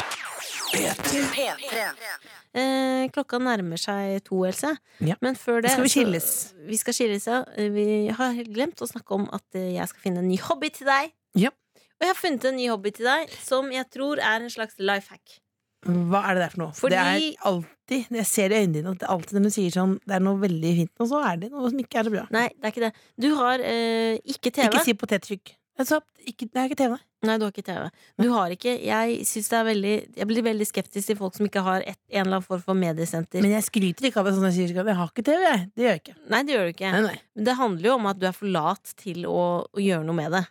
Eh, klokka nærmer seg to, Else. Ja. Men før det Skal vi så- skilles? Vi skal skilles, ja. Eh, Vi har glemt å snakke om at eh, jeg skal finne en ny hobby til deg. Ja. Og jeg har funnet en ny hobby til deg som jeg tror er en slags life hack. Hva er det der for noe? Fordi- Det er alltid, når jeg ser i øynene dine at det er alltid når du sier sånn Det er noe veldig fint, og så er det noe som ikke er så bra. Nei, det er ikke det. Du har eh, ikke TV. Ikke si potetfrykk. Jeg sa ikke- Det er ikke TV. Nei, du har ikke TV. Du har ikke Jeg synes det er veldig Jeg blir veldig skeptisk til folk som ikke har et, en eller annen form for mediesenter. Men jeg skryter ikke av det sånn jeg sier. Jeg har ikke TV, jeg. Det gjør jeg ikke. Nei, det gjør du ikke. Nei, nei. Men det handler jo om at du er for lat til å, å gjøre noe med det.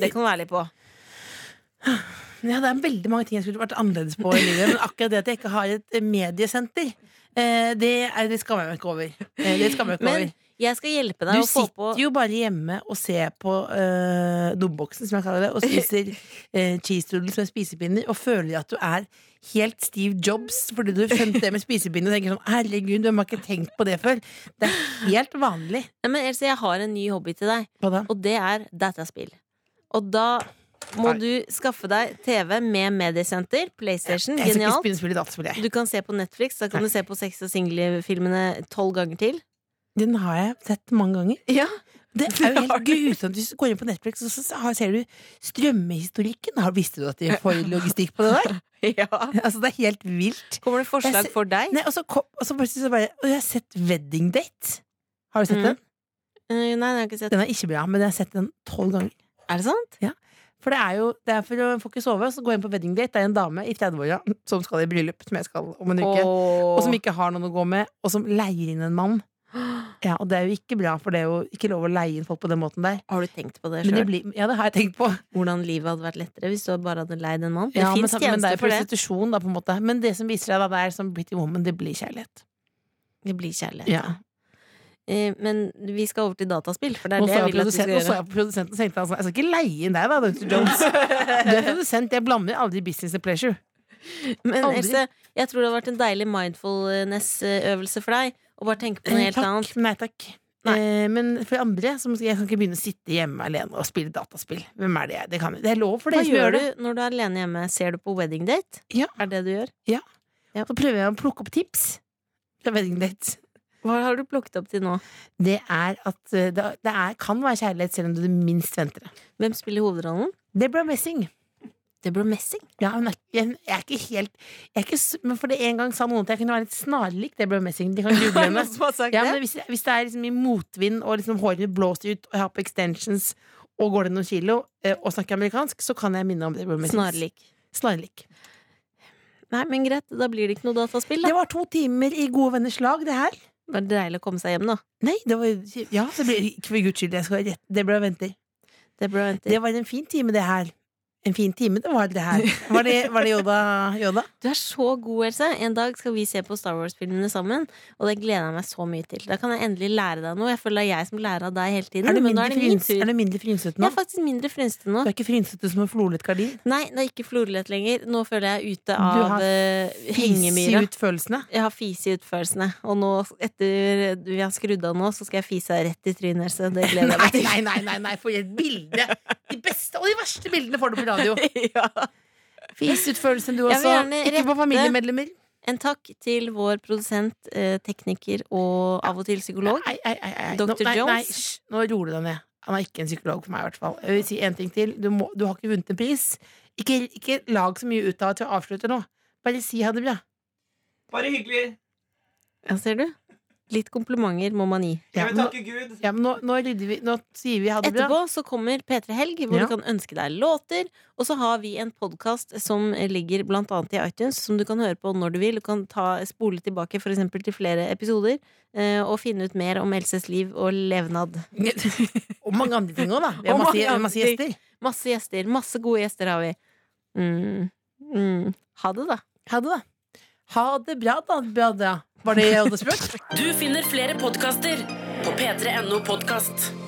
Det kan du være litt på. Ja, det er veldig mange ting jeg skulle vært annerledes på i livet, men akkurat det at jeg ikke har et mediesenter, eh, det, er, det skammer jeg meg ikke over. Eh, Det skammer jeg meg ikke Men over. jeg skal hjelpe deg Du å få på sitter jo bare hjemme og ser på eh, domboksen, som jeg kaller det, og spiser eh, cheese doodles med spisepinner, og føler at du er helt Steve Jobs fordi du skjønte det med spisepinner, og tenker sånn 'herregud, hvem har ikke tenkt på det før'? Det er helt vanlig. Nei, men Else, jeg har en ny hobby til deg, Hva da? og det er dataspill. Og da må Nei. du skaffe deg TV med mediesenter. PlayStation. Jeg skal ikke Genialt. spille spill i dataspill, jeg. Du kan se på Netflix. Da kan du se på Sex og single-filmene tolv ganger til. Den har jeg sett mange ganger. Ja Det er jo helt grusomt hvis du går inn på Netflix og så har- ser du strømmehistorikken. Har, visste du at de får logistikk på det der? Ja. Altså, det er helt vilt. Kommer det Jeg forslag ser- for deg? Nei, og så kom, og så plutselig så bare Og jeg har sett Wedding Date. Har du sett Mm. den? Eh, nei, den har jeg ikke sett. Den er ikke bra, men jeg har sett den tolv ganger. Er det sant? For det er jo det er for å får ikke sove, så går jeg inn på Wedding Date. Det er en dame i 30-åra som skal i bryllup, som jeg skal om en uke. Og som ikke har noen å gå med, og som leier inn en mann. Ja, og det er jo ikke bra, for det er jo ikke lov å leie inn folk på den måten der. Har du tenkt på det Men det selv? blir, ja, det har jeg tenkt på. Hvordan livet hadde vært lettere hvis du bare hadde leid en mann. Det Ja, men, finnes sam- men det er tjenester for det. prostitusjon, da, på en måte. Men det som viser seg, da, det er som Pretty Woman, det blir kjærlighet. Det blir kjærlighet. Ja. Eh, Men vi skal over til dataspill, for det er Nå det så jeg jeg vil at du skal produsenten, nå så gjøre. jeg på produsenten og tenkte altså, jeg skal ikke leie inn deg, da, Dr. Jones. Du er produsent, jeg blander aldri business and pleasure. Men Aldri. Else, jeg tror det hadde vært en deilig mindfulness-øvelse for deg. Å bare tenke på noe Eh, helt takk. annet. Nei takk. Eh, men for andre, så må- jeg kan ikke begynne å sitte hjemme alene og spille dataspill. Hvem er det jeg? Det, kan, det er lov for Hva dere som gjør gjør det. du når du er alene hjemme? Ser du på wedding date? Ja. Er det du gjør? Ja. Så prøver jeg å plukke opp tips fra Wedding Date. Hva har du plukket opp til nå? Det er at eh, det, det er, kan være kjærlighet selv om du minst venter det. Hvem spiller hovedrollen? Debra Messing. Debra Messing? Ja, hun er, jeg, jeg er ikke helt jeg er ikke, s- Men for det en gang sa noen at jeg kunne være litt snarlik Debra Messing. De kan google henne. ja, men hvis, hvis det er liksom i motvind, og liksom håret mitt blåser ut, og jeg har på extensions, og går det noen kilo, eh, og snakker amerikansk, så kan jeg minne om Debra Messing. Snarlik. Snarlik. Nei, men greit, da blir det ikke noe dataspill, da. Det var to timer i gode venners lag, det her. Det var deilig å komme seg hjem, da. Nei, det var Ja, det ble, ikke for guds skyld. Jeg skal rett Debra venter. Debra venter. Det var en fin time, det her. En fin time, det var det her. Var det, var det Yoda? Yoda? Du er så god, Else. En dag skal vi se på Star Wars-filmene sammen. Og det gleder jeg meg så mye til. Da kan jeg endelig lære deg noe. Jeg føler det er jeg som lærer av deg hele tiden. Er du men nå mindre, er det min fryns, tur. er du mindre frynsete Jeg nå? er faktisk mindre frynsete nå. Du er ikke frynsete som en florlet gardin? Nei, det er ikke florlett lenger. Nå føler jeg er ute Du av har eh, Fise hengemyra. ut følelsene? Jeg har fise i utførelsene. Og nå, etter vi har skrudd av nå, så skal jeg fise deg rett i trynet, Else. Det Nei, gleder jeg meg til. nei, nei, nei, nei, for et bilde! De beste og de verste bildene får du på radio. Ja. Fis ut følelsen, du Jeg vil også. gjerne Ikke på rette- familiemedlemmer. En takk til vår produsent, eh, tekniker og av og til psykolog. Nei, nei, nei, nei. Nå- Dr. Nei, nei, Jones? hysj. nå roer du deg ned. Han er ikke en psykolog for meg, i hvert fall. Jeg vil si en ting til. Du, må, du har ikke vunnet en pris. Ikke, ikke lag så mye ut av at vi avslutter nå. Bare si ha det bra. Bare hyggelig. Ja, ser du? Litt komplimenter må man gi. Jeg Ja, vil nå, takke Gud. ja, men nå, nå rydder vi. Nå sier vi ha det bra. Etterpå så kommer P3 Helg, hvor Ja. du kan ønske deg låter. Og så har vi en podkast som ligger blant annet i iTunes, som du kan høre på når du vil. Du kan ta, spole tilbake for eksempel til flere episoder, eh, og finne ut mer om Elses liv og levnad. Og mange andre ting òg, da. Vi har Og masse, mange andre masse ting. gjester. Masse gjester. Masse gode gjester har vi. Mm. Mm. Ha det, da. Ha det, da. Ha det bra, da. Bra, da. Var det jeg hadde spurt? Du finner flere podkaster på p3.no podkast.